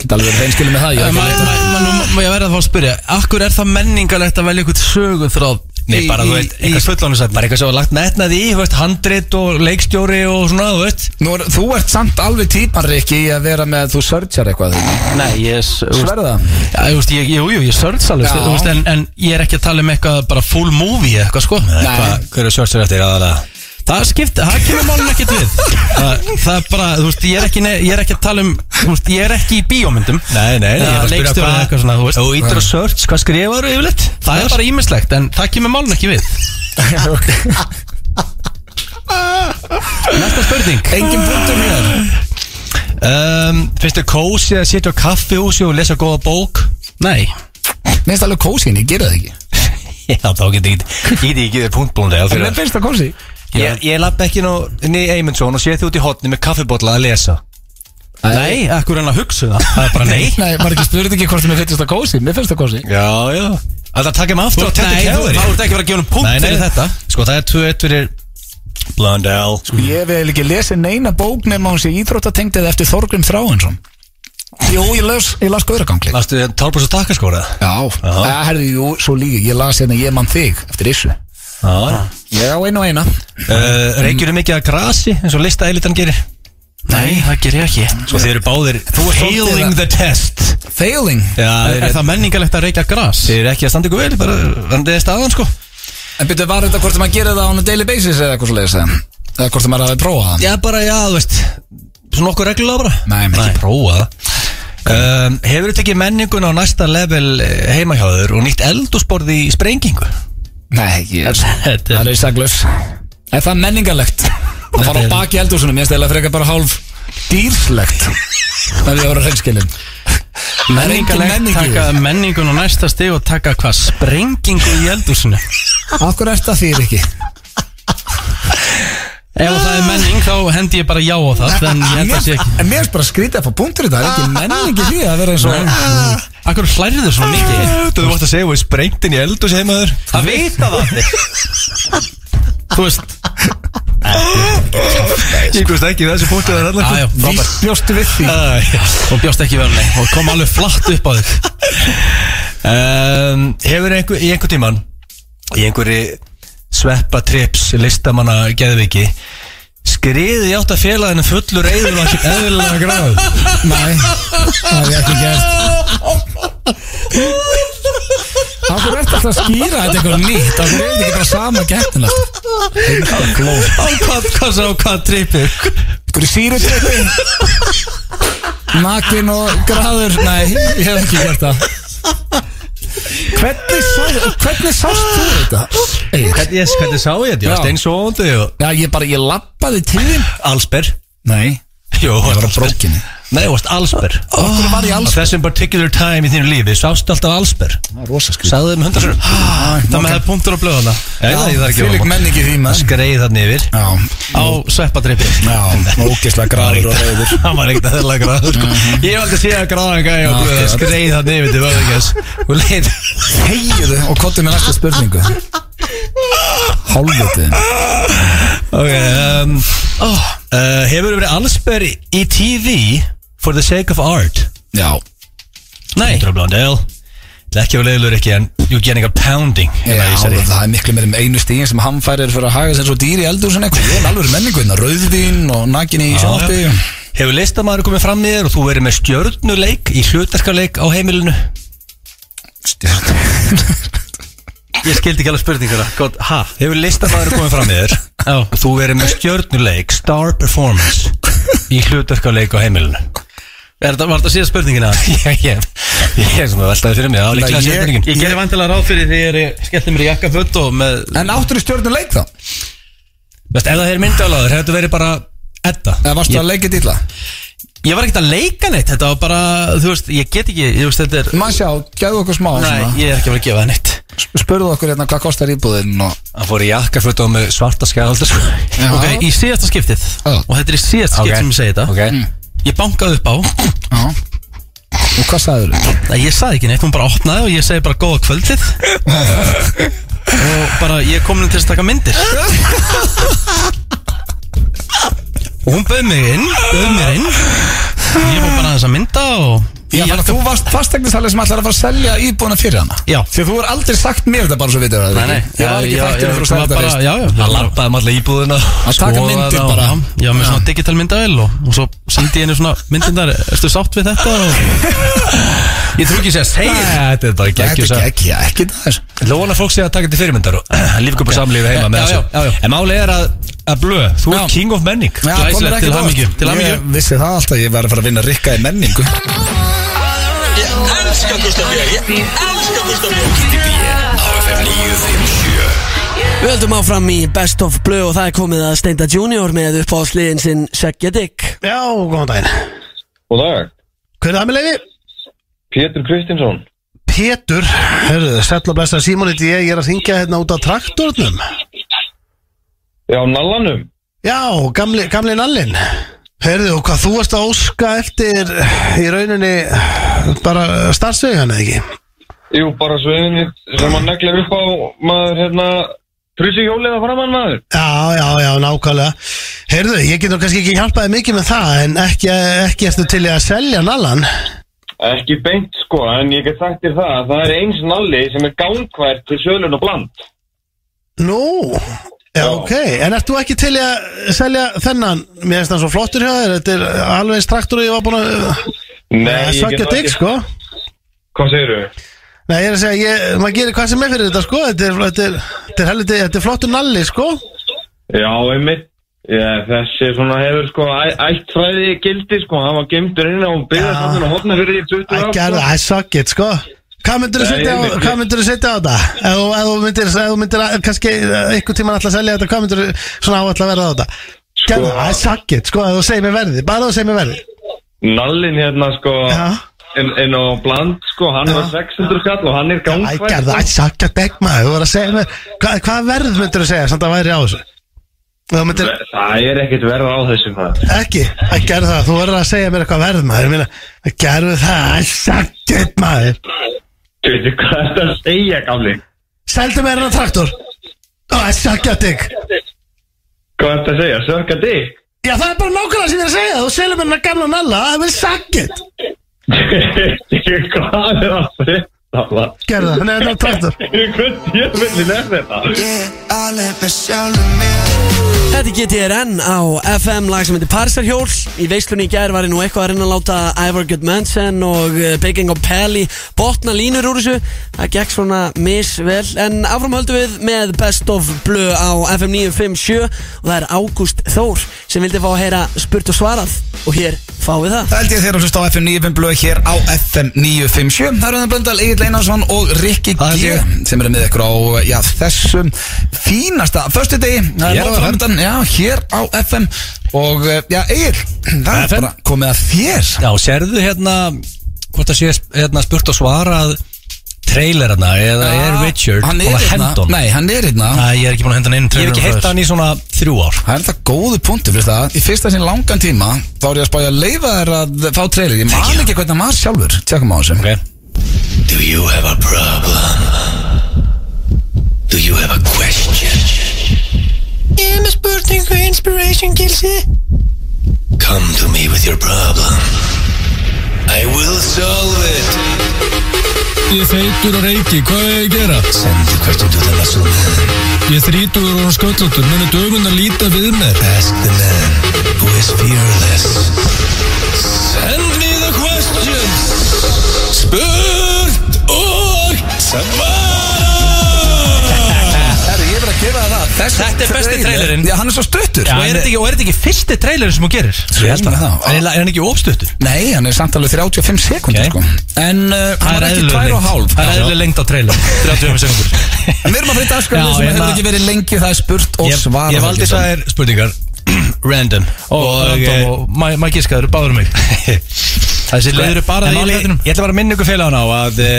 Speaker 9: Geta alveg reynskilu með það Ég er ekki að leita
Speaker 8: Ég verði að fá að spyrja Akkur er það menningarlegt að velja eitthvað söguþráð
Speaker 12: Nei, bara, þú veit, eitthvað fullónusefni Bara eitthvað svo lagt netnaði í, þú veist, handrit og leikstjóri og svona, þú veist
Speaker 9: Nú, er- þú ert samt alveg típan, Rikki, í að vera með að þú sörjar eitthvað
Speaker 12: Nei, ég
Speaker 9: Sverða?
Speaker 12: Já, þú veist, ég, jú, jú, ég sörts alveg,
Speaker 9: Já.
Speaker 12: þú veist, en, en ég er ekki að tala um eitthvað bara full movie eitthvað, sko
Speaker 8: Hvað- Hver er sjörstur eftir aðalega?
Speaker 12: Það skipti, það kemur málun ekkert við það, það er bara, þú veist, ég er ekki, nei, ég er ekki að tala um Þú veist, ég er ekki í bíómyndum
Speaker 8: Nei, nei, ég var að spyrja
Speaker 12: Leikstjóri
Speaker 8: hvað-
Speaker 12: eða eitthvað svona, þú veist
Speaker 8: Þú ýtir á
Speaker 12: search, hvað skrifaður yfirleitt? Það er bara ímislegt, en það kemur málun ekki við Næsta spurning
Speaker 9: Engin punktur hér
Speaker 8: um, Finnst þér kósi að sitja á kaffihúsi og lesa góða bók?
Speaker 12: Nei
Speaker 9: Mér finnst alveg kósi en ég gera það ekki
Speaker 8: Já, þá getur ég Ég get ekki þér punktbúndi
Speaker 9: En mér finnst það kósi
Speaker 8: Ég, ég lappa ekki nú inn í Eymundsson og sé þið út í hotni með kaffibotla að lesa
Speaker 12: Nei, ekkur en að hugsa það Það er bara nei
Speaker 9: Nei, maður ekki spurði ekki hvort mér finnst það kósi Mér finnst það kósi
Speaker 8: Já, já Það taka mig
Speaker 12: Þú
Speaker 8: aftur
Speaker 12: ert- nei, þú- þá ert ekki að fara að gefa honum punkt fyrir þetta.
Speaker 8: Sko, það er 2-1 fyrir Blondell Sko,
Speaker 9: Ég hef eiginlega ekki lesið neina bók nema hún sé íþróttatengd eða eftir Þorgrim Þráinsson Jú, ég las, ég las Gauraganglið
Speaker 8: Lastu þið tálbúrs og takka skóra?
Speaker 9: Já, það herði, jú, svo líka Ég las hérna Ég mann þig eftir Issu
Speaker 8: Já
Speaker 9: Já, einu og eina
Speaker 8: Uh, Reykjur mikið að grasi eins og lista elitan gerir
Speaker 12: Nei, það ger ég ekki
Speaker 8: Svo þið eru báðir Failing the test
Speaker 9: Failing?
Speaker 8: Já,
Speaker 12: Er, er það menningalegt að reykja gras?
Speaker 8: Þið eru ekki að standa ykkur vel, bara randið þið staðan sko
Speaker 9: En byrju, var þetta hvort að maður gerir það á daily basis eða eitthvað svo leiðis eða hvort að maður hafi prófað það
Speaker 8: Já, bara, já, þú veist Svona okkur reglulega bara
Speaker 9: Nei,
Speaker 8: menn ekki prófa það um, Hefur tekið menninguna á næsta level eh, heima hjá þér og nýtt eldúsborð í sprengingu?
Speaker 9: Nei, ég Það er saklaus Er það menningarlegt? Að fara á baki eldúsunum, ég stæla frekar bara hálf dýrslegt Það er að vera reynskilin
Speaker 12: Menningalegt taka menningun á næsta stig og taka hvað sprengingu í eldúsinu
Speaker 9: Akkur er þetta þýr ekki?
Speaker 12: Ef það er menning þá hendi ég bara já á það En ég held að sé ekki
Speaker 9: En mér er bara skrítið að fá punktur í þetta Það er ekki menning í því að vera eins og
Speaker 12: Akkur hlærið þau svona mikið
Speaker 8: Þú vart að segja, þú er sprengtin í eldús heima þér
Speaker 12: Það vita það allir. Þú veist
Speaker 8: Ég veist ekki þessu punktu þar allar
Speaker 12: Jájá, frábært
Speaker 9: Bjóstu við því
Speaker 12: Og bjóst ekki vel nei Og kom alveg flatt upp á þig
Speaker 8: um, Hefur einhver, í einhver tíman í einhverri sveppa trips listamanna geðviki skriði átt að fela henni fullur eður og ekki eðlilega gráð
Speaker 9: Nei, það hef ég ekki gert Akkur er þetta að skýra þetta eitthvað nýtt Akkur er þetta ekki bara sama gættin alltaf
Speaker 12: Á hvað, hvað sá, hvað trippið
Speaker 9: Akkur er sírutrippi Nakin og graður Nei, ég hef ekki gert það Hvernig, sá, hvernig sást þú þetta?
Speaker 8: Hvernig, yes, hvernig sá ég þetta? Ég var
Speaker 9: Já.
Speaker 8: steinsóðandi og
Speaker 9: Já, ég bara, ég lappaði til þín
Speaker 8: allsber
Speaker 9: Nei,
Speaker 8: Jó,
Speaker 9: ég var á brókinni
Speaker 8: Nei, þú varst allsber
Speaker 9: Akkur var ég
Speaker 8: Á
Speaker 9: alls
Speaker 8: þessum particular time í þínu lífi sástu alltaf allsber
Speaker 9: Það er rosa skrýt
Speaker 8: Sagðu þeim hundar sér Ah,
Speaker 12: Það með það er punktur á blöðana
Speaker 8: Nei, það er ekki
Speaker 9: Fylg menn ekki því maður
Speaker 8: Skreið þarna yfir
Speaker 9: Já,
Speaker 12: Á sveppatrippið
Speaker 9: já, ógislega graður og reyður
Speaker 8: Mm. Það var ekkert eðlilega gráður sko. Ég hef aldrei séð að gráðan gæja á
Speaker 9: Já,
Speaker 8: blöðu
Speaker 9: akkurat.
Speaker 8: Skreið þarna yfir til vöðingas Og leið
Speaker 9: Hegiðu og kottu með næsta spurningu Hálfvitiðin
Speaker 8: Ok um, oh, uh, Hefur verið allsber í TV For the sake of art
Speaker 9: Já,
Speaker 12: Nei,
Speaker 8: Dröf Blondell Ekki að vera leiðilegur ekki en You getting a pounding
Speaker 9: já það er miklu meira um einu stíðin sem hann færir fyrir að haga sér svo dýr í eldur sem eitthvað, ég er alveg menninguðin rauðvín og nakin í sjónvarpi
Speaker 8: Hefur listamæður komið fram í þér og þú verið með stjörnuleik í hlutarkarleik á heimilinu? Ég skildi ekki alveg spurninguna Góð, ha? Hefur listamæður komið fram í þér og þú verið með stjörnuleik, star performance í hlutarkarleik á heimilinu?
Speaker 12: er, þetta- var þetta síðan spurningina?
Speaker 8: Ég, ég, ég er svona veltaði fyrir mig, það var líklega
Speaker 9: Nei, ég-
Speaker 8: spurningin
Speaker 12: Ég gerði vantilega ráð fyrir því að ég skellti mér í jakkaföt og með
Speaker 9: En áttur í stjórnuleik þá?
Speaker 8: Veist, ef það er myndaláður, hefur þetta verið bara Edda
Speaker 9: Eða varstu að leikja dýla?
Speaker 12: Ég var ekkert að leika neitt, þetta var bara, þú veist, ég get ekki, þú veist, þetta er
Speaker 9: Maður sjá, gæðu okkur smá
Speaker 12: Nei,
Speaker 9: svona.
Speaker 12: ég er ekki að vera að gefa það neitt
Speaker 9: Spurðu okkur hérna hvað kostar íbúðin og
Speaker 8: Hann fór í jakkafötu og með svarta skæðalda sko.
Speaker 9: Já.
Speaker 12: Ok, í síðasta skiptið,
Speaker 9: Já.
Speaker 12: og þetta er í síðasta
Speaker 8: Ok.
Speaker 12: skiptið sem ég segi þetta
Speaker 8: Ok.
Speaker 12: Ég bankaði upp á,
Speaker 9: Já Og hvað sagður þú?
Speaker 12: Nei, ég sagði ekki neitt, hún bara opnaði og ég segi bara góða kvöldið Og bara, ég er komin til að taka myndir Og hún bauð mig inn, bauð mér inn Ég fór bara aðeins að mynda og
Speaker 9: Já, þannig að þú varst fastegnisalið sem ætlar að fara að selja íbúðuna fyrir hana
Speaker 8: Já
Speaker 9: Því að þú er aldrei sagt mér þetta bara svo vitið það
Speaker 8: Nei, nei
Speaker 9: Ég var ekki fættinu fyrir að selja þetta fyrst
Speaker 8: Já, já Það lappaði maður um íbúðina
Speaker 9: Að taka
Speaker 8: skoðaði
Speaker 9: myndir
Speaker 8: og-
Speaker 9: bara.
Speaker 8: Já, með svona digital myndavel og, og svo sendi ég henni svona myndindar Erstu sátt við þetta? Og... Ég trú ekki að segja segir Þetta er bara geggjus
Speaker 9: Þetta er geggja, ekki þess
Speaker 8: Lóðan að fólk sé að taka þetta fyrirmyndar og lífið upp á samlífi heima með
Speaker 9: Já, já, já,
Speaker 8: þessu En málið er að, að blöð, þú er king of menning
Speaker 9: Já, komir
Speaker 8: Glæsilegt
Speaker 9: ekki
Speaker 8: til
Speaker 9: á óvart.
Speaker 8: hamingju Til hamingju
Speaker 9: Ég vissi það alltaf, ég var að fara að vinna rikka í menningu
Speaker 13: Ég elska Gustaf Björn Ég elska Gustaf Björn Gústi B á FM 957
Speaker 1: Við höldum áfram í Best of Blue og það er komið að Steinda Junior með uppáhaldsliðin sinn Segja Dick
Speaker 14: Já, góðan daginn
Speaker 15: Og dag,
Speaker 14: Hver er það með leiði?
Speaker 15: Pétur Kristinsson
Speaker 14: Pétur, herruðu, sætla blessa Simon heiti ég, ég er að ringja hérna út af traktornum
Speaker 15: Já, nallanum
Speaker 14: Já, gamli, gamli nallinn Herðu, og hvað þú varst að óska eftir í rauninni bara starfsöðu hann eða ekki?
Speaker 15: Jú, bara sveðinni sem að neglir upp á maður hérna Trussi hjólið að framann maður
Speaker 14: Já, já, já, nákvæmlega Herðu, ég getur kannski ekki hjálpaði mikið með það en ekki, ekki ertu til í að selja nallan
Speaker 15: Ekki beint sko, en ég get sagt þér það að Það er eins nalli sem er gangkvært til sölun og bland
Speaker 14: Nú, já, ok En ert þú ekki til í að selja þennan Mér finnst það svo flottur hjá þér Þetta er alveg eins traktor og ég var búin að
Speaker 15: Nei, ég
Speaker 14: Sökja
Speaker 15: get
Speaker 14: digg,
Speaker 15: ekki
Speaker 14: sko
Speaker 15: Hvað segirðu?
Speaker 14: Nei, ég er að segja, ég, maður gerir hvað sem er fyrir þetta, sko Þetta er, þetta er, þetta er, helviti, þetta er flottur nalli, sko
Speaker 15: Já, einmitt Já, þessi svona hefur sko æ- ættfræði gildi sko, hann var gemdur inn á byggðarsamlun og hotna fyrir í 20
Speaker 14: Það
Speaker 15: ár
Speaker 14: gerða, það er sökjað, sko Hvað myndir þú
Speaker 15: Nei,
Speaker 14: setja á,
Speaker 15: einmitt.
Speaker 14: hvað myndir þú setja á þetta? Ef þú- ef þú myndir, ef þú myndir, að- kannski einhvern tímann alltaf selja þetta, hvað myndir þú svona áall að verða á þetta? Gerða, það er sökjað, sko, ef þú segir mér verði, bara ef þú segir mér verði
Speaker 15: Nallin hérna sko inn, inn á bland sko, hann var 600 kall og hann er
Speaker 14: Æ,
Speaker 15: gangfært
Speaker 14: gerða, æ, sakka deg maður, þú voru að segja mér Hva, Hvað verð myndir þú segja, samt að væri á þessu? Þú myndir,
Speaker 15: Það er ekkert verða á þessum það
Speaker 14: ekki, æ, gerða það, þú voru að segja mér eitthvað verð maður Mér, gerðu það, æ, sakka deg maður
Speaker 15: Þú veitir hvað þetta að segja gamli
Speaker 14: Seldu mér hennar traktor Ó, æ, sakka deg
Speaker 15: Hvað þetta að segja, sökka dig
Speaker 14: Já, það er bara nákvæmlega sem ég er að segja, þú selur mér hennar gamla nalla, það er sakkið
Speaker 15: Hvað er að segja
Speaker 14: Gerða, hann er hennar traktor
Speaker 15: Hvernig ég vil er þetta
Speaker 1: Þetta getið er enn á FM lag sem heitir Parsarhjól Í veislunni í gær var ég nú eitthvað að reyna að láta Ivor Goodmanson og eh, Baking of Pally botna línur úr þessu Það gekk svona misvel En áfram höldum við með Best of Blue á FM 957 Og það er Ágúst Þór sem vildi fá að heyra spurt og svarað Og hér fáið það
Speaker 9: Það held ég þegar að hlusta á FM 95 blöð hér á FM 957 Það eru þannig Blöndal, Egil Einarsson og Rikki G sem eru með ykkur á já, þessum fínasta Föstu degi, það
Speaker 8: Hér
Speaker 9: er
Speaker 8: á
Speaker 9: nóg
Speaker 8: FM.
Speaker 9: framöndan Já, hér á FM og eh, já, Egil, það er bara komið að þér
Speaker 8: Já, sérðu hérna hvort það sé hérna, spurt og svara að trailerna eða er Richard
Speaker 9: hann er
Speaker 8: búinn að
Speaker 9: hérna.
Speaker 8: henda honum?
Speaker 9: Nei, hann er hérna.
Speaker 8: Nei, ég er ekki búin að henda hann inn
Speaker 9: Ég hef ekki heyrt hann
Speaker 8: í svona þrjú ár
Speaker 9: Það er þetta góðu punktu fyrir það Í fyrsta sinn langan tíma þá er ég að spája að leifa þær að fá trailer Ég man ekki hvernig hann var sjálfur Tjekkum á þessum okay.
Speaker 13: Do you have a problem? Do you have a question?
Speaker 16: Ég er með spurningu Inspiration Gilsi
Speaker 13: Come to me with your problem I will solve it
Speaker 9: Ég feitur og reiki, hvað er ég að gera?
Speaker 13: Sendu hvert og duðan að
Speaker 9: Ég er þrítur og hann sköllotur, munu dögun að líta við mér
Speaker 13: Ask the man who is fearless Send me the questions Spurt og
Speaker 9: Herru, ég verð að gefa það Þessi
Speaker 8: Þetta er besti trailerinn
Speaker 9: Já, hann er svo stuttur
Speaker 8: Já, og er þetta ekki, og er þetta ekki fyrsti trailerinn sem hún gerir?
Speaker 9: Ég held að það.
Speaker 8: Er, er hann ekki ofstuttur?
Speaker 9: Nei, hann er samt alveg 35 sekundir sko. En uh,
Speaker 8: Það
Speaker 9: hann
Speaker 8: er
Speaker 9: er ekki
Speaker 8: eðlileg
Speaker 9: 2 og
Speaker 8: lengd.
Speaker 9: hálf
Speaker 8: Það er eðlileg lengd á trailer 35 sekundur
Speaker 9: En við erum að breyta
Speaker 8: Já,
Speaker 9: afskræðinu sem
Speaker 8: ég
Speaker 9: hefur
Speaker 8: ma-
Speaker 9: ekki verið lengi Það er spurt og
Speaker 8: Ég,
Speaker 9: svarað
Speaker 8: ég valdi þessar spurningar Random Og, og,
Speaker 9: random
Speaker 8: og ma- maður gískaður báður um mig Þessi
Speaker 9: Sko,
Speaker 8: leiður bara
Speaker 9: en
Speaker 8: í
Speaker 9: málið-
Speaker 8: leiðinum Ég ætla bara að minna ykkur félagann á að eh,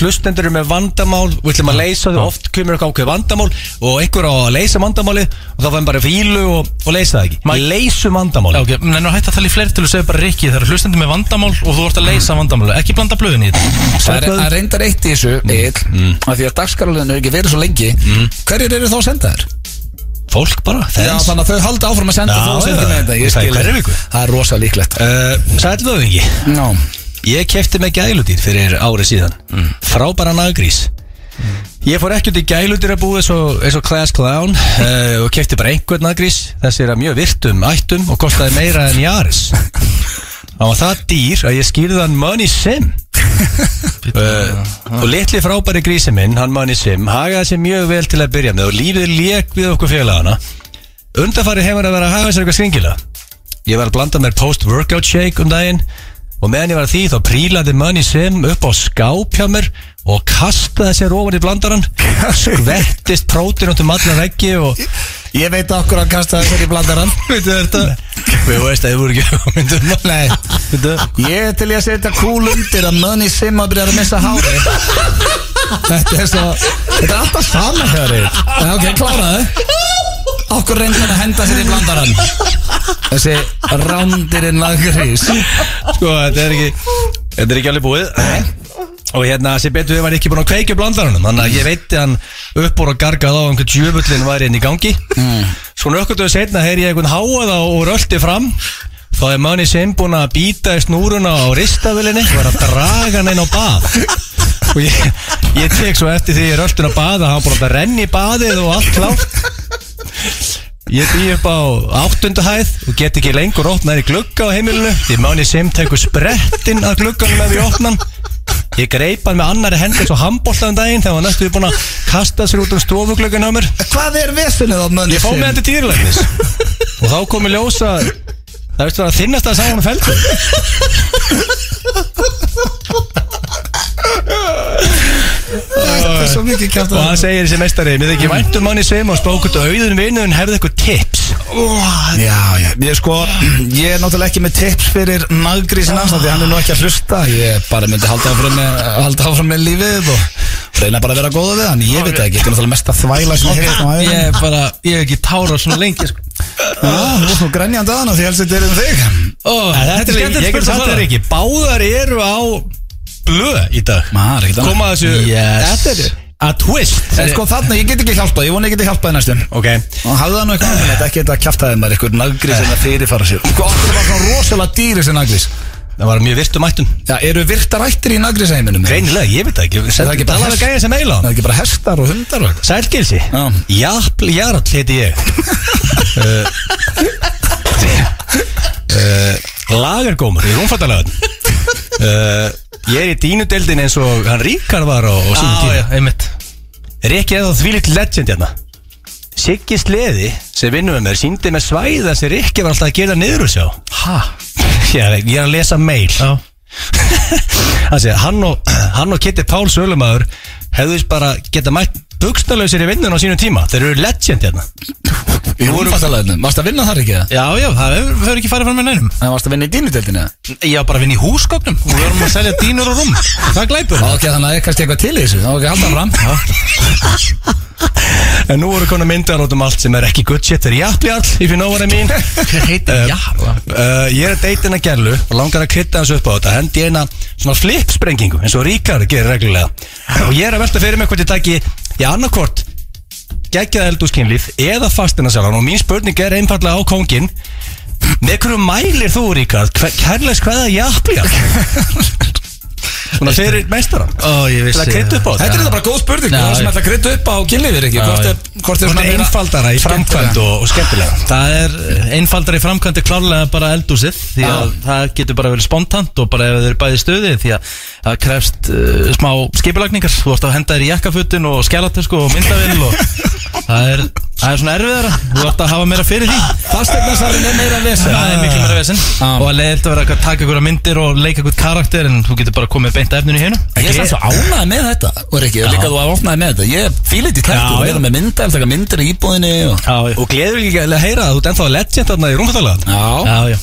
Speaker 8: hlustendur eru með vandamál við ætlum að leysa þau, oft kemur eitthvað ákveð vandamál og einhver á að leysa vandamáli og þá fæðum bara fílu og, og leysa það ekki maður leysum vandamál
Speaker 12: Já, ok, menn að hætta að tala í fleirtölu og segja bara Rikki, það eru hlustandi með vandamál og þú ert að leysa vandamál ekki blanda blöðin í þetta
Speaker 9: Það er það er reyndar eitt í þessu
Speaker 8: Mm.
Speaker 9: Egil, af því að dagskaralöðinu er ekki verið svo lengi Hverjir eru þá að senda þér?
Speaker 8: Fólk bara,
Speaker 9: Já,
Speaker 8: fans.
Speaker 9: þannig að þau halda áfram að senda
Speaker 8: Já,
Speaker 9: þú
Speaker 8: já,
Speaker 9: sendir
Speaker 8: já.
Speaker 9: með þetta,
Speaker 8: Það
Speaker 9: ég
Speaker 8: er
Speaker 9: skil
Speaker 8: hverri viku.
Speaker 9: Það er rosa líklegt
Speaker 8: uh, Sætlöðingi
Speaker 9: Ná
Speaker 8: Ég kefti með gæludýr fyrir árið síðan Frábæra naggrís Ég fór ekki út í gæludýr að búa eins og, eins og class clown uh, og kefti bara einhvern naggrís Þessi er að mjög virtum, ættum og kostaði meira en Jaris Það var það dýr að ég skýrði hann Money Sim uh, Og litli frábæri grísi minn, hann Money Sim Hagaði sér mjög vel til að byrja með og lífið lék við okkur félagana Undarfari hefur að vera að haga sér eitthvað skringila Ég var að blanda mér post-workout shake um daginn og meðan ég var að því þá prílaði Money Sim upp á skáp hjá mér og kastaði sér ofan í blandaran skvettist prótin út um alla veggi og Ég veit okkur að kastaði sér í blandaran Veitu þetta? Við veist að þið voru ekki á myndum Nei, veitu
Speaker 9: Ég er til í að setja kúl undir að Money Simma byrjar að missa hári Þetta er svo Þetta er alltaf sama hér
Speaker 17: Já, ok, kláraðu
Speaker 9: Okkur reyndir að henda sér í blandarann
Speaker 17: Þessi rándirinn lagrís
Speaker 8: Sko, þetta er ekki Þetta er ekki alveg búið Og hérna, sem betur við var ekki búin að kveikja blandarunum Þannig að ég veitti hann upp úr og gargað á einhvern djöfullin var inn í gangi Svo nökkutuðu setna heyri ég einhvern háaða og rölti fram Þá er Money Sim búin að býta í snúruna á ristavilinni og er að draga hann inn á bað Og ég, ég tek svo eftir því ég röltin á bað að hann búin að renna í baðið og allt klátt Ég bý upp á áttundu hæð og get ekki lengur opnað í glugga á heimilinu Því Máni Sim tekur sprettinn að glugganum með við opnan Ég greip hann með annari hendi svo handbóltaðum um daginn þegar hann næstu við búin að kasta sér út um stofugluggan á mér
Speaker 9: Hvað er vesunnið á Money
Speaker 8: Ég fóð
Speaker 9: Sim?
Speaker 8: með þetta dýrlæknis og þá kom ég ljósa Það veistu það að þinnast að sá hann feldur
Speaker 9: Þetta er svo mikið kjátt
Speaker 8: Og hann segir þessi meistari Mér þykir væntum Máni Sim og spókut auðun vinuðin herði eitthvað tips
Speaker 9: Já, já, ég sko, ég er náttúrulega ekki með tips fyrir naggrísin hans Því hann er nú ekki að hlusta Ég bara myndi halda áfram með, halda áfram með lífið og reyna bara að vera góða við hann Ég veit það ekki, þetta er náttúrulega mesta þvæla sem ég hefði á æfum
Speaker 12: Ég er
Speaker 9: bara, ég hef ekki tárað svona lengi sko. Já, þú varst nú grænjandi að hann því helst þetta er um þig
Speaker 8: Ó, Þetta er skemmtilegt spurt að svara ekki Báðar eru á blöð í dag
Speaker 9: Maður, ekki það
Speaker 8: Koma þessu
Speaker 9: Yes.
Speaker 8: Þetta er að twist
Speaker 9: En sko þarna, ég get ekki hjálpað, ég vona ég get ekki hjálpað í næstum
Speaker 8: Ok
Speaker 9: Og hafði það nú eitthvað annað, ekki þetta að kjaftaði maður Eitthvað nagrið sem það fyrirfara sér Sko okkur var svona rosalega dýri sem nagrið
Speaker 8: Það var mjög virtum ættum
Speaker 9: Já, eru virtar ættir í nagriðsheiminum?
Speaker 8: Greinilega, ég veit það ekki
Speaker 9: Er það ekki bara
Speaker 8: Talaðu við gæja sem eila
Speaker 9: Það er ekki bara hestar og hundar og
Speaker 8: Sælgilsi Japl Jarl heiti ég uh, uh, Lagergómur í rúmfattalagun uh, Ég er í dínudeldin eins og hann Ríkar var á, á sínum
Speaker 12: Já,
Speaker 8: tíma
Speaker 12: já,
Speaker 8: einmitt Er ekki eða því litt legend hérna Siggi Sleði sem vinnum með mér síndi með svæða sem Rikki var alltaf að gera niður úr sjá
Speaker 12: Hæ?
Speaker 8: Já, ég er að lesa mail Já Þannig að hann og, hann og Kitty Pál Sölumæður hefðu bara geta mætt buksnalausir í vinnun á sínum tíma Þeir eru legend hérna
Speaker 9: Í rúmfattalagunum, varst að vinna þar ekki það?
Speaker 12: Já, já, það hefur- hefur ekki farið fram með neinum
Speaker 9: En varst að vinna í dínudeldinu?
Speaker 12: Já, bara vinna í húsgögnum og við vorum að selja dínur og rúm Það glæpur
Speaker 9: Ok, þannig að ég kannski eitthvað til í þessu Það var ekki alltaf fram
Speaker 8: En nú eru konar myndar út um allt sem er ekki good shit Þeir eru jafnjarl, if you know what I mean Hver heitir jafnjarl? ég er að deyta hennar gerlu og langar að krytta hans upp á þetta Hendi eina svona flipsprengingu eins og Ríkar gerir reglulega Og ég er að velta fyrir mig hvort ég taki Ég annarkvort geggjaða eldúskynlíf eða fastinasjalan og mín spurning er einfallega á kóngin með hverju mælir þú Ríkard Hver, kærleis hvaða jafnja svona fyrir meistara
Speaker 12: Ó, ég vissi
Speaker 8: til að krydda upp á
Speaker 9: Þetta er þetta bara góð spurning
Speaker 8: Já,
Speaker 9: Það sem
Speaker 8: ég-
Speaker 9: ætla að krytta upp á kynlífir ekki
Speaker 12: Já,
Speaker 9: Hvort
Speaker 12: já.
Speaker 9: er, hvort er
Speaker 8: Svona
Speaker 9: meira-
Speaker 8: einfaldara í framkvæmd og, og skemmtilega
Speaker 12: Það er einfaldar í framkvæmdi klálega bara eldúsið því að það getur bara verið spontant og bara ef þau eru bæði í stuði því að það krefst uh, smá skipulagningar þú ert að henda þér í jakkafutin og skjálatösku og myndavill og það er, það er svona erfiðara þú ert að hafa meira fyrir því
Speaker 9: Fasteignasalinn er meira vesen.
Speaker 12: Það er miklu meira vesen og að leiðilt að vera að taka ykkur myndir og leika ykkur karakter en þú getur bara komið beint að efninu í hérna
Speaker 9: Ég er samt svo ánægð með þetta Og ekki, líka þú að opnaði með þetta Ég fílit í tættu og vera með mynda Taka myndir í íbúðinni og...
Speaker 8: og gleður ekki að heyra að þú ert ennþá legend þarna í rúmfattalega
Speaker 9: Já,
Speaker 12: já, já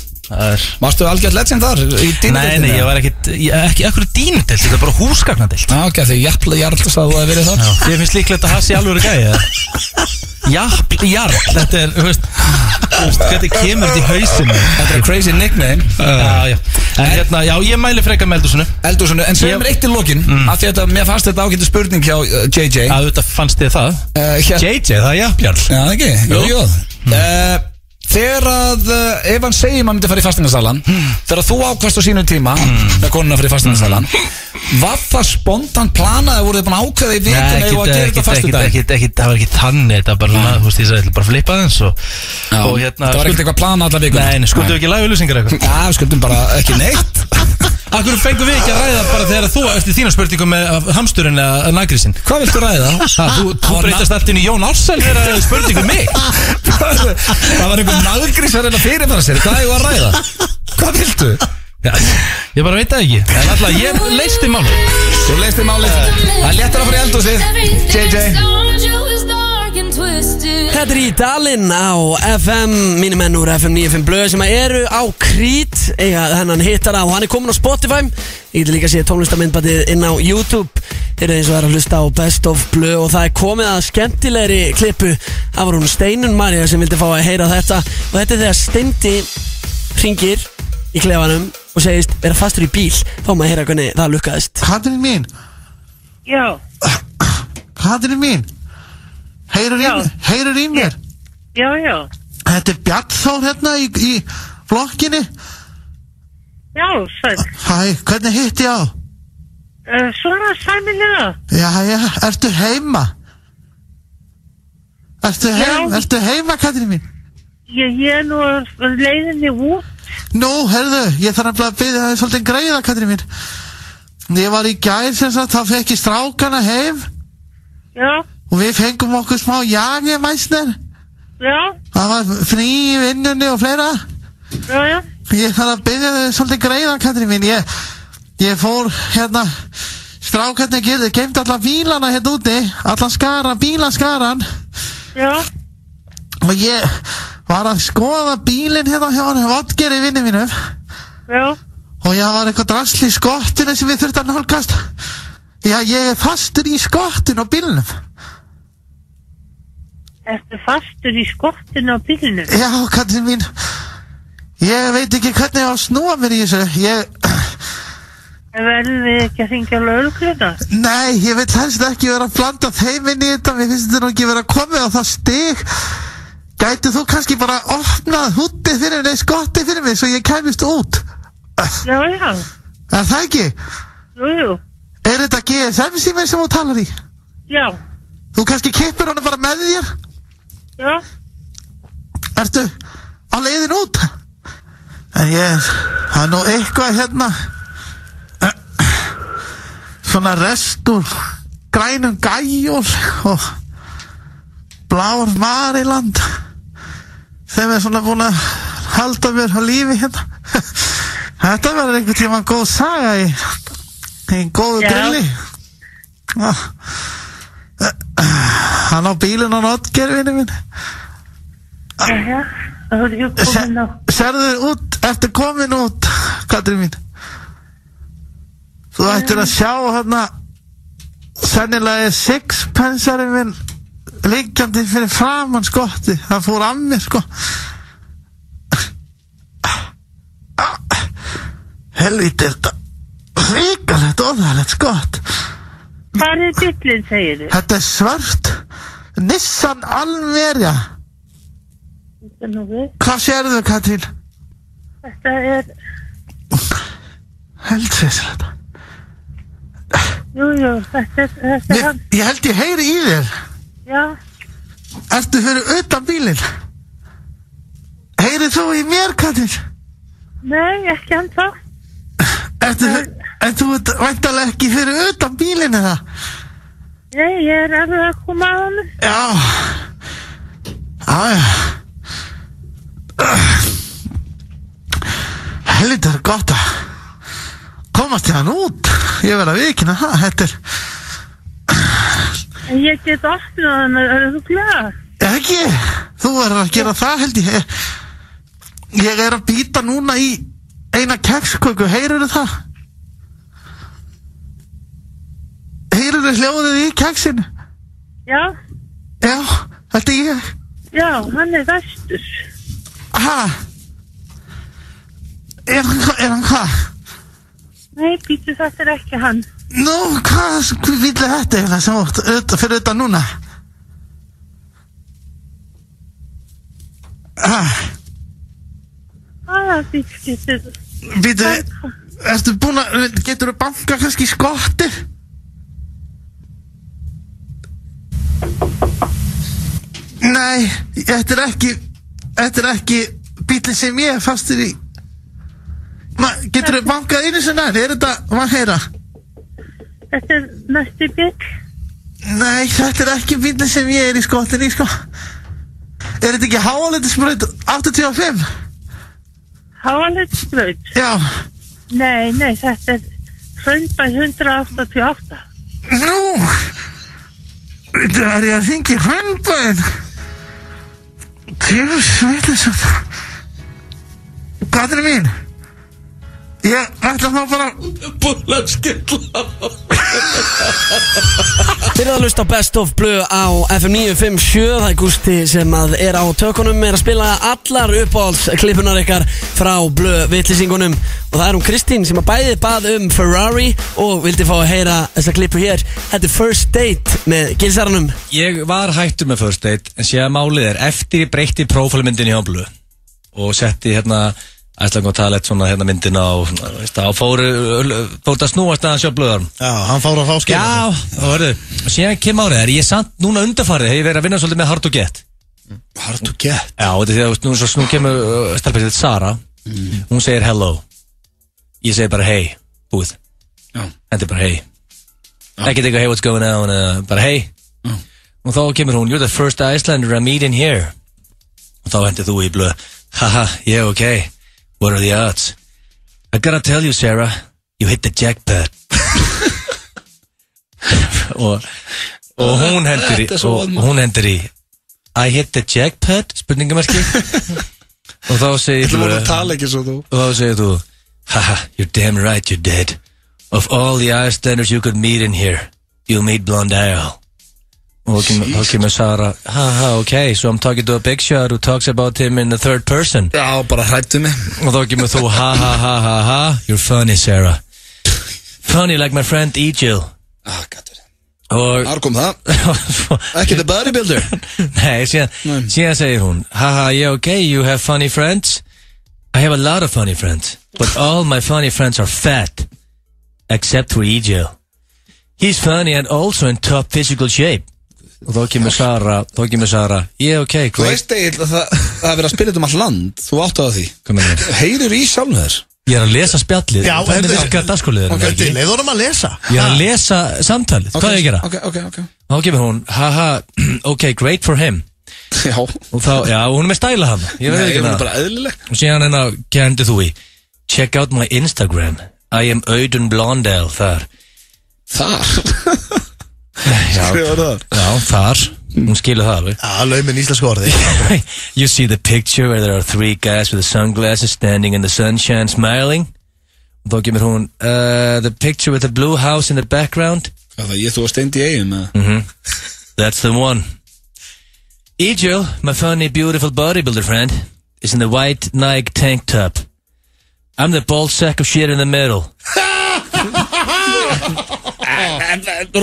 Speaker 9: Varstu algjörð legend þar? Í
Speaker 12: Nei, nei, ég var ekkit, ég, ekki ekkur dínudelt, þetta er bara húsgagnadelt
Speaker 9: Já, ok, því jafnlega jarl að þú að verið það
Speaker 12: Ég finnst líklegt að það sé alveg verið gæði Jafn, jarl, þetta er, þú veist, þú veist, hvernig kemur þetta í hausinu Þetta
Speaker 9: er crazy nickname
Speaker 12: Já, já, en hérna, já, ég mæli frekar með eldúsinu
Speaker 9: Eldúsinu, en segjum mér eitt í lokin mm. Af því að þetta- mér fannst þetta ágættu spurning hjá uh, JJ
Speaker 12: Að þetta fannst þið það
Speaker 9: hér...
Speaker 8: JJ, það er jafnjarl
Speaker 12: Mm.
Speaker 9: Já, það ekki, jú, jú uh, Þegar að, uh, ef hann segir maður myndi fara í fastingarsalan Þegar þú ákvæmst á sínu tíma
Speaker 12: Mm.
Speaker 9: með konuna fyrir fastingarsalan Var það spontant planað eða voruð þið búin að ákveða í
Speaker 12: Nei,
Speaker 9: vikun
Speaker 12: ekkit,
Speaker 9: eða að gera
Speaker 12: ekkit,
Speaker 9: þetta á
Speaker 12: ekkit,
Speaker 9: fastingardag?
Speaker 12: ekkit, ekkit, það var ekki þannig Þetta var bara, svona, þú veist, ég sagði, ég ætla bara að flippa þess og, og
Speaker 9: Það
Speaker 12: hérna
Speaker 9: var ekkert eitthvað planað alla vikun
Speaker 12: Nei, nei, skuldum við ekki lagulusingar eitthvað
Speaker 9: Já, skuldum bara ekki neitt
Speaker 12: Akkur fengum við ekki að ræða bara þegar þú eftir þína spurningu með hamsturinn eða nagrisinn
Speaker 9: Hvað viltu ræða?
Speaker 12: Ha, þú þú breytast allt inn í Jón Ársæl þegar það er spurning um mig
Speaker 9: Það var einhver naggrís að reyna að fyrirfara sér Hvað er að ræða? Hvað viltu?
Speaker 12: Já, ég bara veit það ekki En alltaf, ég leisti máli
Speaker 9: Þú leisti máli
Speaker 12: Það er léttir að fara í eldhúsið
Speaker 1: Þetta er í Dalinn á FM, mínum enn úr FM 95 blöð sem eru á Krít, eiga hennan hittar á, hann er komin á Spotify, ég get líka að sé tónlistamindbatið inn á YouTube, þeir eru eins og það er að hlusta á Best of blöð og það er komið að skemmtilegri klippu, það var hún Steinun Marja sem vildi fá að heyra þetta og þetta er þegar Steindi ringir í klefanum og segist vera fastur í bíl, þá má að heyra hvernig það lukkaðist.
Speaker 4: Katrin mín,
Speaker 13: Já,
Speaker 4: Katrin mín Heyrur í,
Speaker 13: Já.
Speaker 4: heyrur í mér
Speaker 13: já, já.
Speaker 4: Þetta er Bjartþór hérna í, í blokkinni
Speaker 13: Já, sæl.
Speaker 4: Hæ, hvernig hitti ég á?
Speaker 13: Uh, svona sæmilega.
Speaker 4: Já, já, ertu heima? Ertu heima,
Speaker 13: Já.
Speaker 4: ertu heima Katrin mín?
Speaker 13: Ég, ég er nú á leiðinni út.
Speaker 4: Nú, herðu, ég þarf nefnilega að byggja það er svolítið um greiða Katrin mín Ég var í gær sem sagt, þá fekk ég strákana heim
Speaker 13: Já,
Speaker 4: og við fengum okkur smá jagi mæsner
Speaker 13: já,
Speaker 4: Það var frí í vinnunni og fleira
Speaker 13: já, já.
Speaker 4: Ég þarf að byrja þau svolítið greiða, Katrín mín Ég, ég fór hérna Strákarnir ge- geymdu alla bílana hérna úti Alla skaran, bílaskaran
Speaker 13: Já
Speaker 4: Og ég var að skoða bílinn hérna hjá hann Vodgeri vinnu mínum
Speaker 13: Já
Speaker 4: Og ég var eitthvað drasli í skottinu sem við þurftum að nálgast Já, ég er fastur í skottinu á bílnum
Speaker 13: Ertu fastur í skottinu á bílinu?
Speaker 4: Já, Katrín mín Ég veit ekki hvernig ég á að snúa mér í þessu Ég
Speaker 13: Verðum við ekki að ringja lögregluna?
Speaker 4: Nei, ég vil helst ekki vera að blanda þeim inn í þetta Mér finnst þetta nú ekki vera komið á það stig Gæti þú kannski bara opnað húttið fyrir mig, skottið fyrir mig Svo ég kemist út
Speaker 13: Já, já
Speaker 4: Er það ekki?
Speaker 13: Jú, jú
Speaker 4: Er þetta GSM síminn sem þú talar í?
Speaker 13: Já,
Speaker 4: Þú kannski kippir hann bara með þér
Speaker 13: já,
Speaker 4: Ertu á leiðin út? En ég, það er nú eitthvað hérna Svona restur Grænum gæjur Og Blár mariland Þeim er svona búin að Halda mér á lífi hérna Þetta verður einhvern tíma góð saga Í, í góðu
Speaker 13: Já.
Speaker 4: grilli Já. Hann á bílinn á notgerfinu minn
Speaker 13: já, já Það voru jú komin á
Speaker 4: Serðu út, ertu komin út Katrín mín Þú ættir að sjá hérna Sennilega er sixpensari minn Liggjandi fyrir framann skotti Það fór af mér sko Helvítið er þetta Ríkalegt óþægilegt skott
Speaker 13: Hvað er bílinn, segir þið?
Speaker 4: Þetta er svart Nissan Alverja Hvað sérðu Katrín?
Speaker 13: Þetta er,
Speaker 4: Heldsveislega
Speaker 13: jú, jú, þetta er, þetta er
Speaker 4: Mér,
Speaker 13: hann
Speaker 4: ég held ég heyri í þér
Speaker 13: Já,
Speaker 4: Ertu fyrir utan bílinn? Heyrið þú í mér, Katir?
Speaker 13: nei, ekki hann þá
Speaker 4: Ertu, en þú ert væntalega ekki fyrir utan bílinn eða?
Speaker 13: Nei, ég er alveg að koma á hann
Speaker 4: Já Æja Helvita er gott að komast hérna út Ég verð að vikina það, þetta er
Speaker 13: En ég get opnað hann, er þú glöð?
Speaker 4: Ekki, þú verður að gera það held ég Ég er að býta núna í eina keksköku, heyrðu það? Heyrðu hljóðið í keksin?
Speaker 13: Já,
Speaker 4: Já, þetta er ég
Speaker 13: já, hann er vestur
Speaker 4: Ha? Er, hann- er hann hvað?
Speaker 13: Nei, býtu, þetta er ekki hann.
Speaker 4: Nú, hvað, hvað vill þetta eiginlega sem átt auðvitað fyrir auðvitað núna? Ha?
Speaker 13: hvaða bílskiptir?
Speaker 4: Býtu, ertu búin að, getur þú banka kannski skottir? Nei, þetta er ekki, þetta er ekki bílinn sem ég er fastur í. Ma, getur þú bankað einu sinna, er þetta, maður heyra?
Speaker 13: Þetta er næstu bíl.
Speaker 4: Nei, þetta er ekki bílinn sem ég er í skotin í, sko. Er þetta ekki háaleitisbröð 85?
Speaker 13: Háaleitisbröð?
Speaker 4: Já.
Speaker 13: Nei, nei, þetta er Hraunbæð 188.
Speaker 4: Nú! Þetta er ég að þingi hröndbæðin. Tjóðs, veitum svo. Hvað er mín? Ég ætla þá bara...
Speaker 12: Búin að skella
Speaker 1: Þið eru að hlusta á Best of Blue á FM 957 Það er Gústi sem að er á tökunum er að spila allar uppáhaldsklipunar ykkar frá Blue vitlýsingunum og það er hún Kristín sem að bæði bað um Ferrari og vildi fá að heyra þessa klipu hér Þetta er First Date með Gilsaranum
Speaker 8: Ég var hættur með First Date En séða málið er Eftir ég breytti prófálmyndin í áblu Og setti hérna Æslangu og talet svona hérna myndina Og, svona, veist það, og fóru Fóru að snúast aðeins hjá blöðarum
Speaker 4: Já, hann fór að fá skil
Speaker 8: Já, það verður Og séðan kem árið er Ég samt núna undarfarið Hef ég verið að vinna svolítið með Hard to Get
Speaker 4: Hard to Get?
Speaker 8: Já, þetta er því að veist, nú, svo, nú kemur uh, Stelpið þetta Sara Mm. Hún segir hello Ég segir bara hey Búið Þetta er bara hey Ekkert eitthvað hey what's going on uh, Bara hey Og þá kemur hún, you're the first Icelander I'm meeting here. Og þá hendur þú í blöð, haha, yeah, okay, what are the odds? I gotta tell you, Sarah, you hit the jackpot. og, og hún hendur í,
Speaker 12: Þetta er svo
Speaker 8: og, og hún hendur í, I hit the jackpot, spurningamarki. og þá segir
Speaker 4: Þú voru
Speaker 8: blöð,
Speaker 4: að tala ekki svo þú.
Speaker 8: og þá segir þú, haha, you're damn right, you're dead. Of all the Icelanders you could meet in here, you'll meet Blonde Isle. Og þá kemur- þá kemur Sara Haha, ok, so I'm talking to a big shot who talks about him in the third person Já, bara hrættu mig Og þá kemur þú Ha ha ha ha ha You're funny, Sarah Funny like my friend E-Jill Ah, Og Þar kom það Ekki the bodybuilder Nei, síðan, síðan segir hún Haha, yeah, ok, you have funny friends I have a lot of funny friends But all my funny friends are fat Except for E-Jill He's funny and also in top physical shape Og þá kemur Sara, þá kemur Sara Yeah,
Speaker 9: Þú
Speaker 8: ok, great
Speaker 9: veist Egil að það, það er verið að spila þetta um all land Þú áttu að því Heyrir í sjálfum þér
Speaker 8: Ég er að lesa spjallið
Speaker 9: Já,
Speaker 8: Þetta
Speaker 9: heyrðu.
Speaker 8: er okkar dagskóliður
Speaker 9: Ok, til
Speaker 4: Leður honum að lesa.
Speaker 8: Ég er að lesa samtalið, hvað er ég að gera?
Speaker 9: Ok, ok, ok
Speaker 8: Og Þá kemur hún, haha, ok, great for him Já Og þá, já, hún er með stæla hann Ég veit
Speaker 9: Nei,
Speaker 8: ekki
Speaker 9: hún er
Speaker 8: hana.
Speaker 9: bara eðlileg.
Speaker 8: Og síðan hérna, kendi þú í Check out my Instagram I am Audun Blondell þar Þar? já
Speaker 9: Skrifar þar?
Speaker 8: Já, þar Hún skilur það alveg
Speaker 4: Já, laumin íslensku orði
Speaker 8: You see the picture where there are three guys with sunglasses standing in the sunshine smiling Og þá kemur hún uh, The picture with the blue house in the background
Speaker 9: Hvað það, ég þú að steindi í eigum eða?
Speaker 8: Mhm. That's the one. Egil, my funny, beautiful bodybuilder friend, is in the white Nike tank top. I'm the bald sack of shit in the middle.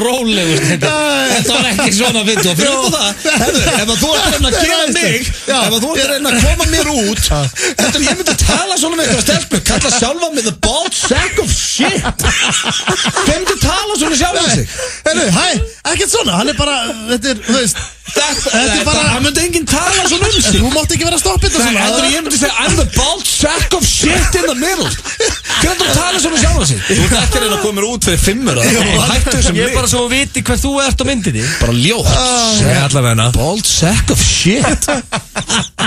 Speaker 9: Rólegur þetta Þetta var ekki svona vindu Og fyrir utan það Herðu, ef að þú ert að reyna að gera mig Ef að þú ert að reyna að koma mér út Þetta er ég myndi að tala svona með eitthvað stelpu Kalla sjálfa mig the bald sack of shit Hver myndi að tala svona sjálfa sig
Speaker 4: Herru, hæ, ekkert svona, hann er bara, þetta er, þú veist Þetta er bara
Speaker 9: Þetta- hann myndi enginn tala svona um sig
Speaker 4: Þú mátt ekki vera að stoppa þetta
Speaker 9: Nei,
Speaker 4: svona
Speaker 9: þetta er ég myndi segja I'm the bald sack of shit in the middle Hvernig þú tala svona sjálfa sig Þú ert ekki að reyna að koma mér út fyrir fimmur Hættu þessum
Speaker 8: Ég er bara svo að viti hver þú ert á myndinni
Speaker 9: Bara ljótt
Speaker 4: Ah,
Speaker 8: Segðu allavega hana
Speaker 9: Bald sack of shit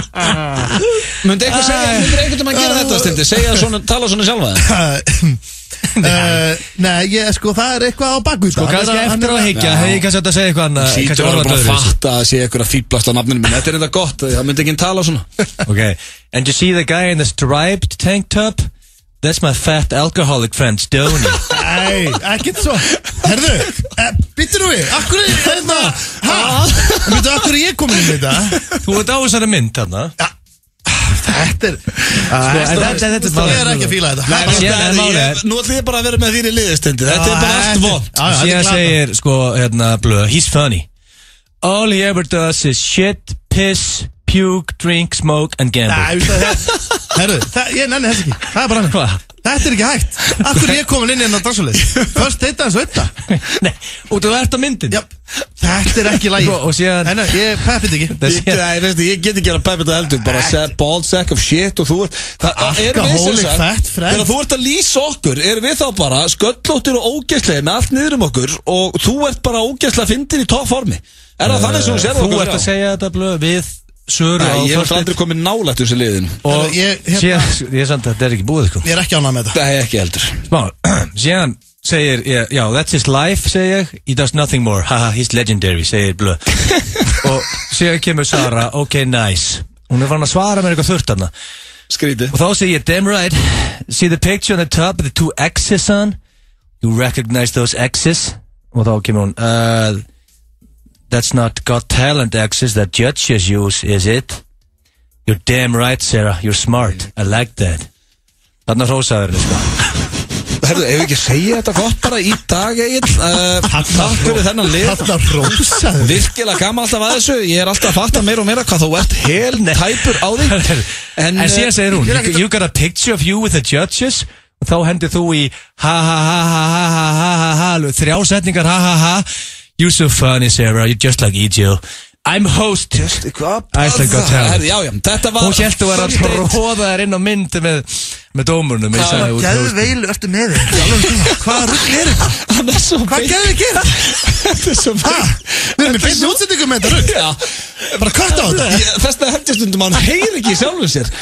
Speaker 9: Myndi eitthvað segja Myndi eitthvað um að gera þetta stundi Segja svona, tala svona sjálfa þig?
Speaker 4: Uh, nei, ég, sko, það er eitthvað á bakvið
Speaker 8: Sko, kannski eftir á að hyggja, hefði ég kannski átt að segja eitthvað annað,
Speaker 9: Þú
Speaker 8: kannski
Speaker 9: hlýtur að vera
Speaker 8: orðað
Speaker 9: búin að
Speaker 8: öðruvísi.
Speaker 9: fatta að sé eitthvað að fýblast á nafninu minn Þetta er eitthvað gott, það myndi ekki tala svona
Speaker 8: Okay. And you see the guy in the striped tank top? That's my fat alcoholic friend, Stoney.
Speaker 4: Nei, ekkert svo Herðu, e, býttu nú við, akkur er þetta Hæ, býttu akkur er ég komin inn í þetta
Speaker 8: Þú ert á þessari mynd þarna
Speaker 4: Þetta er
Speaker 8: Sko, en þetta- þetta er bara-
Speaker 4: Ég er ekki að fíla þetta
Speaker 8: Nei, nei,
Speaker 4: Þetta
Speaker 8: nei, málið er-
Speaker 9: Nú ætlum ég bara að vera með þín í liðistundi Ah, Þetta er bara allt vond
Speaker 8: Og síðan segir sko hérna blöð He's funny All he ever does is shit, piss, puke, drink, smoke and gamble
Speaker 4: Nei, veistu það,
Speaker 7: Herru, það- ég nenni þess ekki Það er bara hann Þetta er ekki hægt Akkur ég komin inn hérna á dansuleið Först þetta en svo þetta Nei,
Speaker 18: og þú ert á myndin
Speaker 7: Já, þetta er ekki lægi
Speaker 18: Svo- og síðan-
Speaker 7: Nei, nei, ég peppið ekki
Speaker 9: Ég, ég, veistu, ég get ekki að pæpa þetta eldur bara set, bald sack of shit og þú ert það það er
Speaker 7: Alcoholic
Speaker 9: vesen, sagði.
Speaker 7: fat friend.
Speaker 9: þegar þú ert að lýsa okkur erum við þá bara sköllóttir og ógeðslega með allt niður um okkur og þú ert bara ógeðslega fyndin í topp formi er það þannig sem þú sér
Speaker 8: Þú
Speaker 9: okkur
Speaker 8: ert að segja þetta blöð við Söru
Speaker 9: Nei,
Speaker 8: á
Speaker 9: ég hef
Speaker 8: Þorsteinn.
Speaker 9: aldrei komið nálægt þessu liðin
Speaker 8: Og
Speaker 7: ég, hérna-
Speaker 8: síðan, ég er samt að þetta er ekki búið sko.
Speaker 7: Ég er ekki ánað með þetta
Speaker 9: Það er ekki eldur
Speaker 8: Smá, síðan segir, ég, já, that's his life, segir ég He does nothing more, haha, he's legendary, segir blö Og síðan kemur Sara, ok, nice Hún er farin að svara með eitthvað þurft hana
Speaker 9: Skrítið
Speaker 8: Og þá segir ég, damn right See the picture on the top of the two X's on You recognize those X's Og þá kemur hún uh, That's not got talent X's that judges use, is it? You're damn right, Sarah, you're smart I like that Þannig hrósaður henni, sko
Speaker 9: Herðu, ef við ekki að segja þetta gott bara í dag Egil uh, Takk fyrir þennan lið
Speaker 7: Þarna rósaður.
Speaker 9: Virkilega gaman alltaf að þessu Ég er alltaf að fatta meira og meira hvað þú ert hel tæpur á því eh,
Speaker 8: En, síðan segir hún you, you got a picture of you with the judges Og þá hendur þú í Ha ha ha ha ha ha ha ha ha alveg Þrjá setningar ha ha ha You're so funny Sarah, you're just like Egil I'm host Just Iceland got talent
Speaker 9: Herðu, já, já, þetta var
Speaker 8: Hún held þú var að tróða þær inn á mynd með, með dómurnum ég sagði út-
Speaker 4: Geðveilu ertu með þér Alveg tíma. Hvaða rugg er þetta?
Speaker 9: Hann er svo
Speaker 4: Hvað gerðu þið gera?
Speaker 9: Þetta er svo
Speaker 7: Við erum í beinni útsendingu með þetta rugg Bara kvarta á þetta
Speaker 9: Þess að hefði stundum hann heyr ekki í sjálfum sér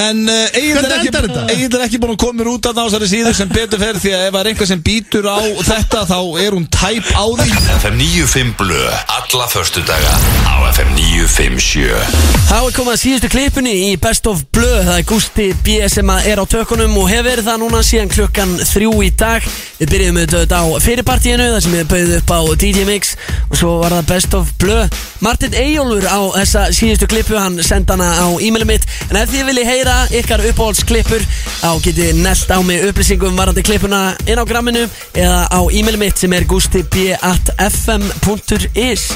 Speaker 9: En uh, Egil er
Speaker 7: Hvernig endar þetta?
Speaker 9: ekki, Egil er ekki búin að koma mér út af násari síður sem betur fer Því að ef það er einhver sem býtur á þetta þá er hún tæp á því
Speaker 3: FM 95 Blö Alla förstu daga á FM 957
Speaker 1: Þá er komið að síðustu klippunni í Best of Blö Það er Gusti B sem að er á tökunum og hefur verið það núna síðan klukkan þrjú í dag Við byrjuðum auðvitað á fyrirpartíinu þar sem við bauðum upp á DJ Mix og svo var það Best of Blö Martin Eyjólfur á þessa síðustu klippu hann senda hana á e-mailum mitt en ef þið viljið heyra ykkar uppáhaldsklippur þá getið nellt á mig upplýsingum varandi klippuna inn á gramminu eða á e-mailum mitt sem er gustib.fm.is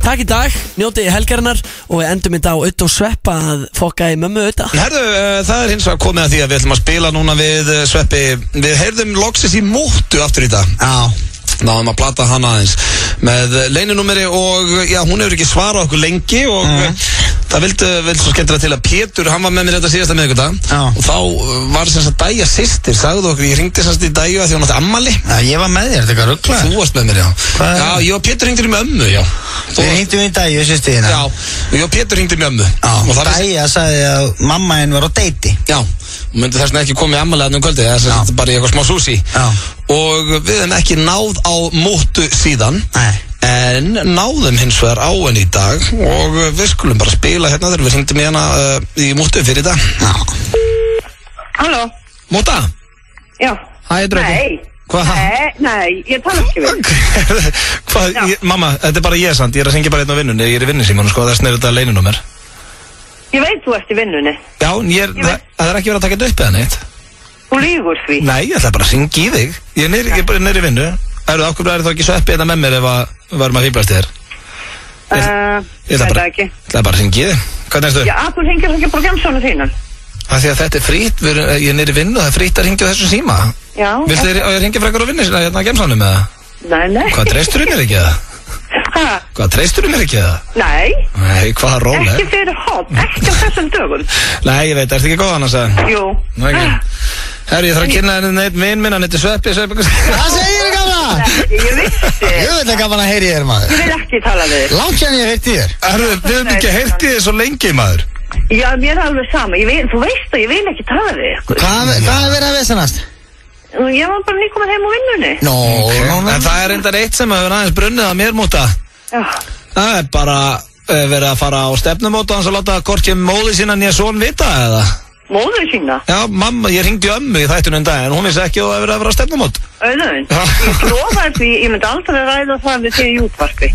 Speaker 1: Takk í dag, njótið helgarinnar og við endum þetta á auðvitað og sveppa að fokka í mömmu auðvitað
Speaker 9: Herðu, uh, það er hins vegar komið að því að við ætlum að spila núna við uh, Sveppi Við heyrðum loksins í múttu aftur í dag Já Náðum að plata hana aðeins með uh, leyninúmeri og uh, já, hún hefur ekki svarað okkur lengi og mm. það vildi, vildi svo skemmtilega til að Pétur, hann var með mér þetta síðasta meðgudag og þá uh, var sem sagt dæja sýstir, sagði okkur, ég ringdi sem sagt í dæju að því hún átti ammali Já, ég var með þér, þetta er ruggla Þú varst með mér, já Já, ég og Pétur ringdi með ömmu, já Við ringdum í dæju sýstina Já, ég og Pétur ringdi með ömmu Já, og það
Speaker 4: Dæja sagði að mamma henn var á deiti
Speaker 9: Já, hún myndi þess vegna ekki komið ammalega um kvöldi, þess að þetta er bara í eitthvað smá súsi Já. og við hefum ekki náð á móttu síðan Nei. en náðum hins vegar á henni í dag og við skulum bara spila hérna þegar við hringdum í hana uh, í móttu fyrir dag Já.
Speaker 13: Halló,
Speaker 9: Móta,
Speaker 13: já.
Speaker 9: Hæ, Draugur.
Speaker 13: Nei,
Speaker 9: Hvað?
Speaker 13: nei, nei, ég tala ekki við.
Speaker 9: hvað, ég, mamma, þetta er bara ég samt, ég er að syngja bara einn á vinnunni, ég er í vinnisíman sko, þess nefnir þetta leinunúmer
Speaker 13: Ég veit þú ert í vinnunni.
Speaker 9: Já, en ég er, það, það er ekki verið að taka þetta upp eða neitt
Speaker 13: Þú lígur því.
Speaker 9: Nei, ég ætla bara að syngja í þig Ég er niður, ég er bara niður í vinnu Það eru okkur er þá ekki sveppi þetta með mér ef að við varum að fýblast þér
Speaker 13: Uh,
Speaker 9: Ég ætla bara,
Speaker 13: ekki.
Speaker 9: ég ætla bara að syngja í þig Hvernig erstu?
Speaker 13: Já, að þú hengir ekki bara gemsónu þínum.
Speaker 9: Það því að þetta er frýtt, við, erum- eh, ég er niður í vinnu Það er frýtt að ringja þessu síma
Speaker 13: Já.
Speaker 9: Viltu þér að ég ringja frekar á vinnu sinna hérna að gemsanum eða?
Speaker 13: Nei, nei.
Speaker 9: Hvað treystur mér ekki eða?
Speaker 13: Ha,
Speaker 9: Hvað treystur mér ekki eða?
Speaker 13: nei,
Speaker 9: Nei, hvað róleg
Speaker 13: ekki fyrir hótt, ekki á þessum dögum.
Speaker 9: Nei, ég veit, ertu ekki góð annars að
Speaker 13: Jú.
Speaker 9: Nú ekki
Speaker 13: Ah.
Speaker 9: Herri, ég þarf að kynna henni neitt vinn minn, hann heitir Sveppi, Sveppi
Speaker 13: Hvað segir þið gamla? Ah. Ég vissi.
Speaker 9: Ég veit ekki að hann að heyri þér maður
Speaker 13: Ég vil ekki tala við. þig.
Speaker 9: Langt sem ég heyrti þér Herru, við höfum ekki heyrti þér svo lengi maður
Speaker 13: Já, mér er alveg sama. Ég Vil, þú veist að ég vil ekki tala við. þig.
Speaker 4: Hvað hvað er verið að vesanast?
Speaker 13: Ég var bara nýkominn heim úr vinnunni.
Speaker 9: Nó, En það er reyndar eitt sem hefur aðeins brunnið að mér múta
Speaker 13: Já.
Speaker 9: Það er bara eh, verið að fara á stefnumóta hans og láta hvorki móði sína nýja són vita eða
Speaker 13: Móður sína.
Speaker 9: Já, mamma, ég ringdi ömmu í þættunum dag en hún vissi ekki að það verið að vera á stefnumót
Speaker 13: Auðvun, ég lofaði því, ég myndi aldrei ræða það við þig í útvarpi.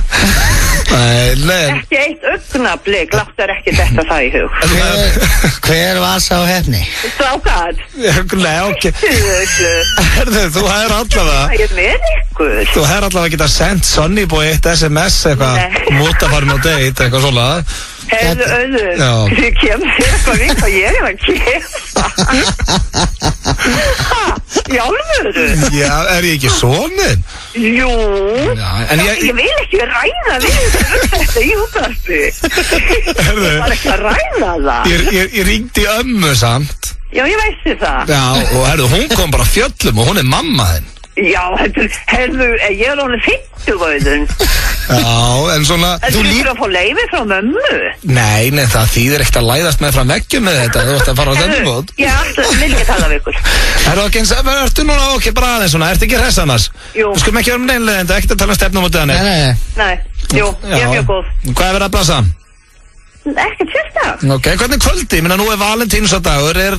Speaker 9: Nei, nei
Speaker 13: Ekki eitt augnablik láttar ekki þetta það í hug.
Speaker 4: Hver var sá hefni?
Speaker 13: Strákad.
Speaker 9: Nei, ok. Herðu, þú hefur allavega
Speaker 13: Ég er með ykkur.
Speaker 9: Þú hefur allavega getað sendt Sonny Boy eitt SMS eitthvað, múta farin á date eitthvað svolega
Speaker 13: Hefðu auður,
Speaker 3: Já.
Speaker 13: kemur þér eitthvað við hvað ég er að kemur Í alvöru?
Speaker 9: Já, er ég ekki sonin?
Speaker 13: Jú,
Speaker 9: en
Speaker 13: ég,
Speaker 9: ég-
Speaker 13: vil ekki ræða við þetta í útvarpi
Speaker 9: Herðu.
Speaker 13: Ég var ekki að ræða það
Speaker 9: Ég, ég, ég ringdi ömmu samt
Speaker 13: Já, ég veistu það
Speaker 9: Já, og herðu, hún kom bara af fjöllum og hún er mamma þinn
Speaker 13: Já, heldur, herðu, eh, ég er alveg 50 vöðun
Speaker 9: Já, en svona
Speaker 13: Þú lítur að fá leiði frá mömmu
Speaker 9: Nei, nei, það þýðir ekkert að læðast með fram veggjum með þetta Þú ert að fara á þenni bót
Speaker 13: Ég ætla, vil ekki tala við ykkur
Speaker 9: Er það ekki eins að verður eh, núna ok, bara aðeins svona, ertu ekki hress annars?
Speaker 13: Jú.
Speaker 8: Sko-
Speaker 9: Þú skulum ekki vera um neinlega en það er ekkert að tala um stefnum út af henni Nei, nei,
Speaker 13: Nei, jú, ég er mjög góð
Speaker 9: Hvað er verið að blasa?
Speaker 13: Ekki sérsta
Speaker 9: Ok, hvernig kvöldi? Minna nú er Valentíns dagur, er,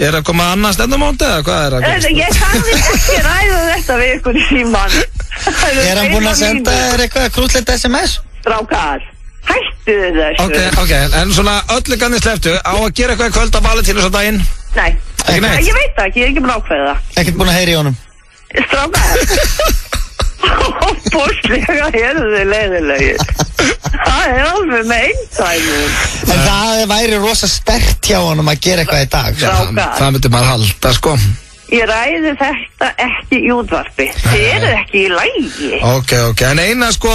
Speaker 9: er að koma annað stefnum út eða hvað er að
Speaker 13: Eh,
Speaker 9: gerast?
Speaker 13: Ég sagði ekki ræða þetta við ykkur í síman
Speaker 3: Er hann búinn að senda
Speaker 13: þér eitthvað krútlegt SMS? Strákar, hættu þessu
Speaker 9: Ok, ok, en svona öllu ganni sleftu á að gera eitthvað í kvöld á Valentíns daginn
Speaker 13: Nei,
Speaker 9: Ekki neitt?
Speaker 13: ég veit það ekki, ég er ekki búin að ákveða það
Speaker 9: Ekkert búin að heyri í honum
Speaker 13: Strákar Bústlega eru þið leiðilegi Það er alveg með eintæmum
Speaker 3: En það væri rosa stert hjá honum að gera eitthvað í dag
Speaker 13: Strákar.
Speaker 9: Það myndi maður halda, sko
Speaker 13: Ég ræði þetta ekki í útvarpi Þið eru ekki í lægi
Speaker 9: Ok, ok, en eina sko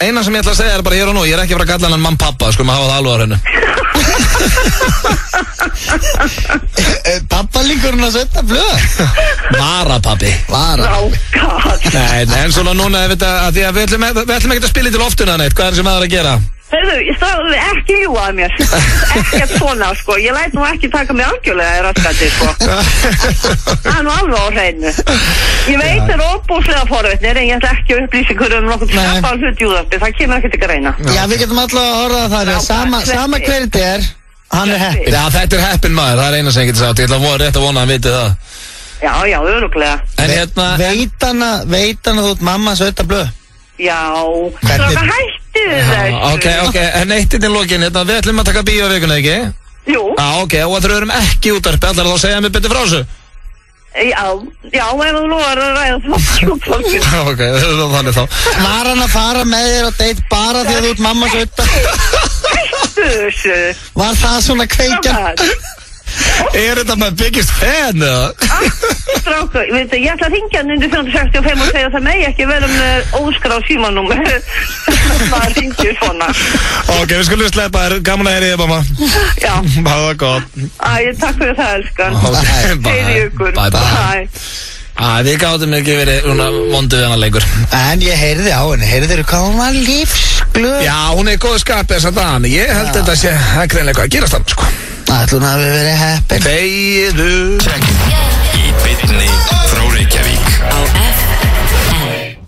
Speaker 9: Eina sem ég ætla að segja er bara hér og nú Ég er ekki að fara að kalla hann mann pappa, skulum hafa það alveg á hennu
Speaker 3: Pappa líkur hún að setja blöð
Speaker 9: Varapappi
Speaker 13: Strákar
Speaker 9: Nei, nei, en svona núna ef þetta, að því að við ætlum, við ætlum ekki að spila í til loftuna neitt, hvað er sem það er að gera?
Speaker 13: Heyrðu, ég stráði ekki ljúa að mér Ekkert svona, sko Ég læt nú ekki taka mig algjörlega í raskandi, sko Það er nú alveg á hreinu Ég veit er óbúslega forvetnir En ég ætla ekki að upplýsa hverju um nokkuð Snappa hlut í útvarpi, það kemur ekki til greina
Speaker 3: Já, við getum alltaf að horfa að það er sama, sama hver þetta er Hann er heppin
Speaker 9: Já, þetta er heppin maður, það er eina sem ég geti sagt, ég ætla að vona rétt að vona að hann viti það.
Speaker 13: Já, já, öruglega
Speaker 9: En hérna,
Speaker 3: Veit hann að, veit hann að þú ert mamma að setja blöð
Speaker 13: Já, stráka hætti þessu
Speaker 9: ok, ok, en eitt inn í lokin, hérna, við ætlum að taka bíó í vikuna, ekki?
Speaker 13: Jú,
Speaker 9: Já, ok, og að þau erum ekki útarpi, allar þá að segja mér betur frá þessu.
Speaker 13: já, já, ef þú nú er að ræða það útvarpi
Speaker 9: Já, ok, þannig þá.
Speaker 3: Var hann að fara með þér á deitt bara því að þú ert mamma að
Speaker 13: setja þessu
Speaker 3: Var það svona kveikja
Speaker 9: Er þetta maður biggest fan, eða?
Speaker 13: Stráka, ég Ah, veit, ég ætla að ringja hann undir 565 og segja það megi ekki vera með óskrá símanum maður ringir svona
Speaker 9: Ok, við skulum sleppa þér, gaman að heyri þér, mamma.
Speaker 13: Já,
Speaker 9: Báða gott.
Speaker 13: Æ, takk fyrir það, elskan
Speaker 9: Ok, bye.
Speaker 13: Heyri ykkur
Speaker 9: Bye, bye. Æ, við gátum ekki verið, svona, vondu við hana leikur.
Speaker 3: En ég heyrði á henni, heyrði þér hvað hún var lífsglöð
Speaker 9: Já, hún er í góðu skapi þess að dana Ég held þetta sé, það er greinlega eitthvað að gerast hann, sko
Speaker 3: Ætlum að við verið heppin
Speaker 9: Begiðu Check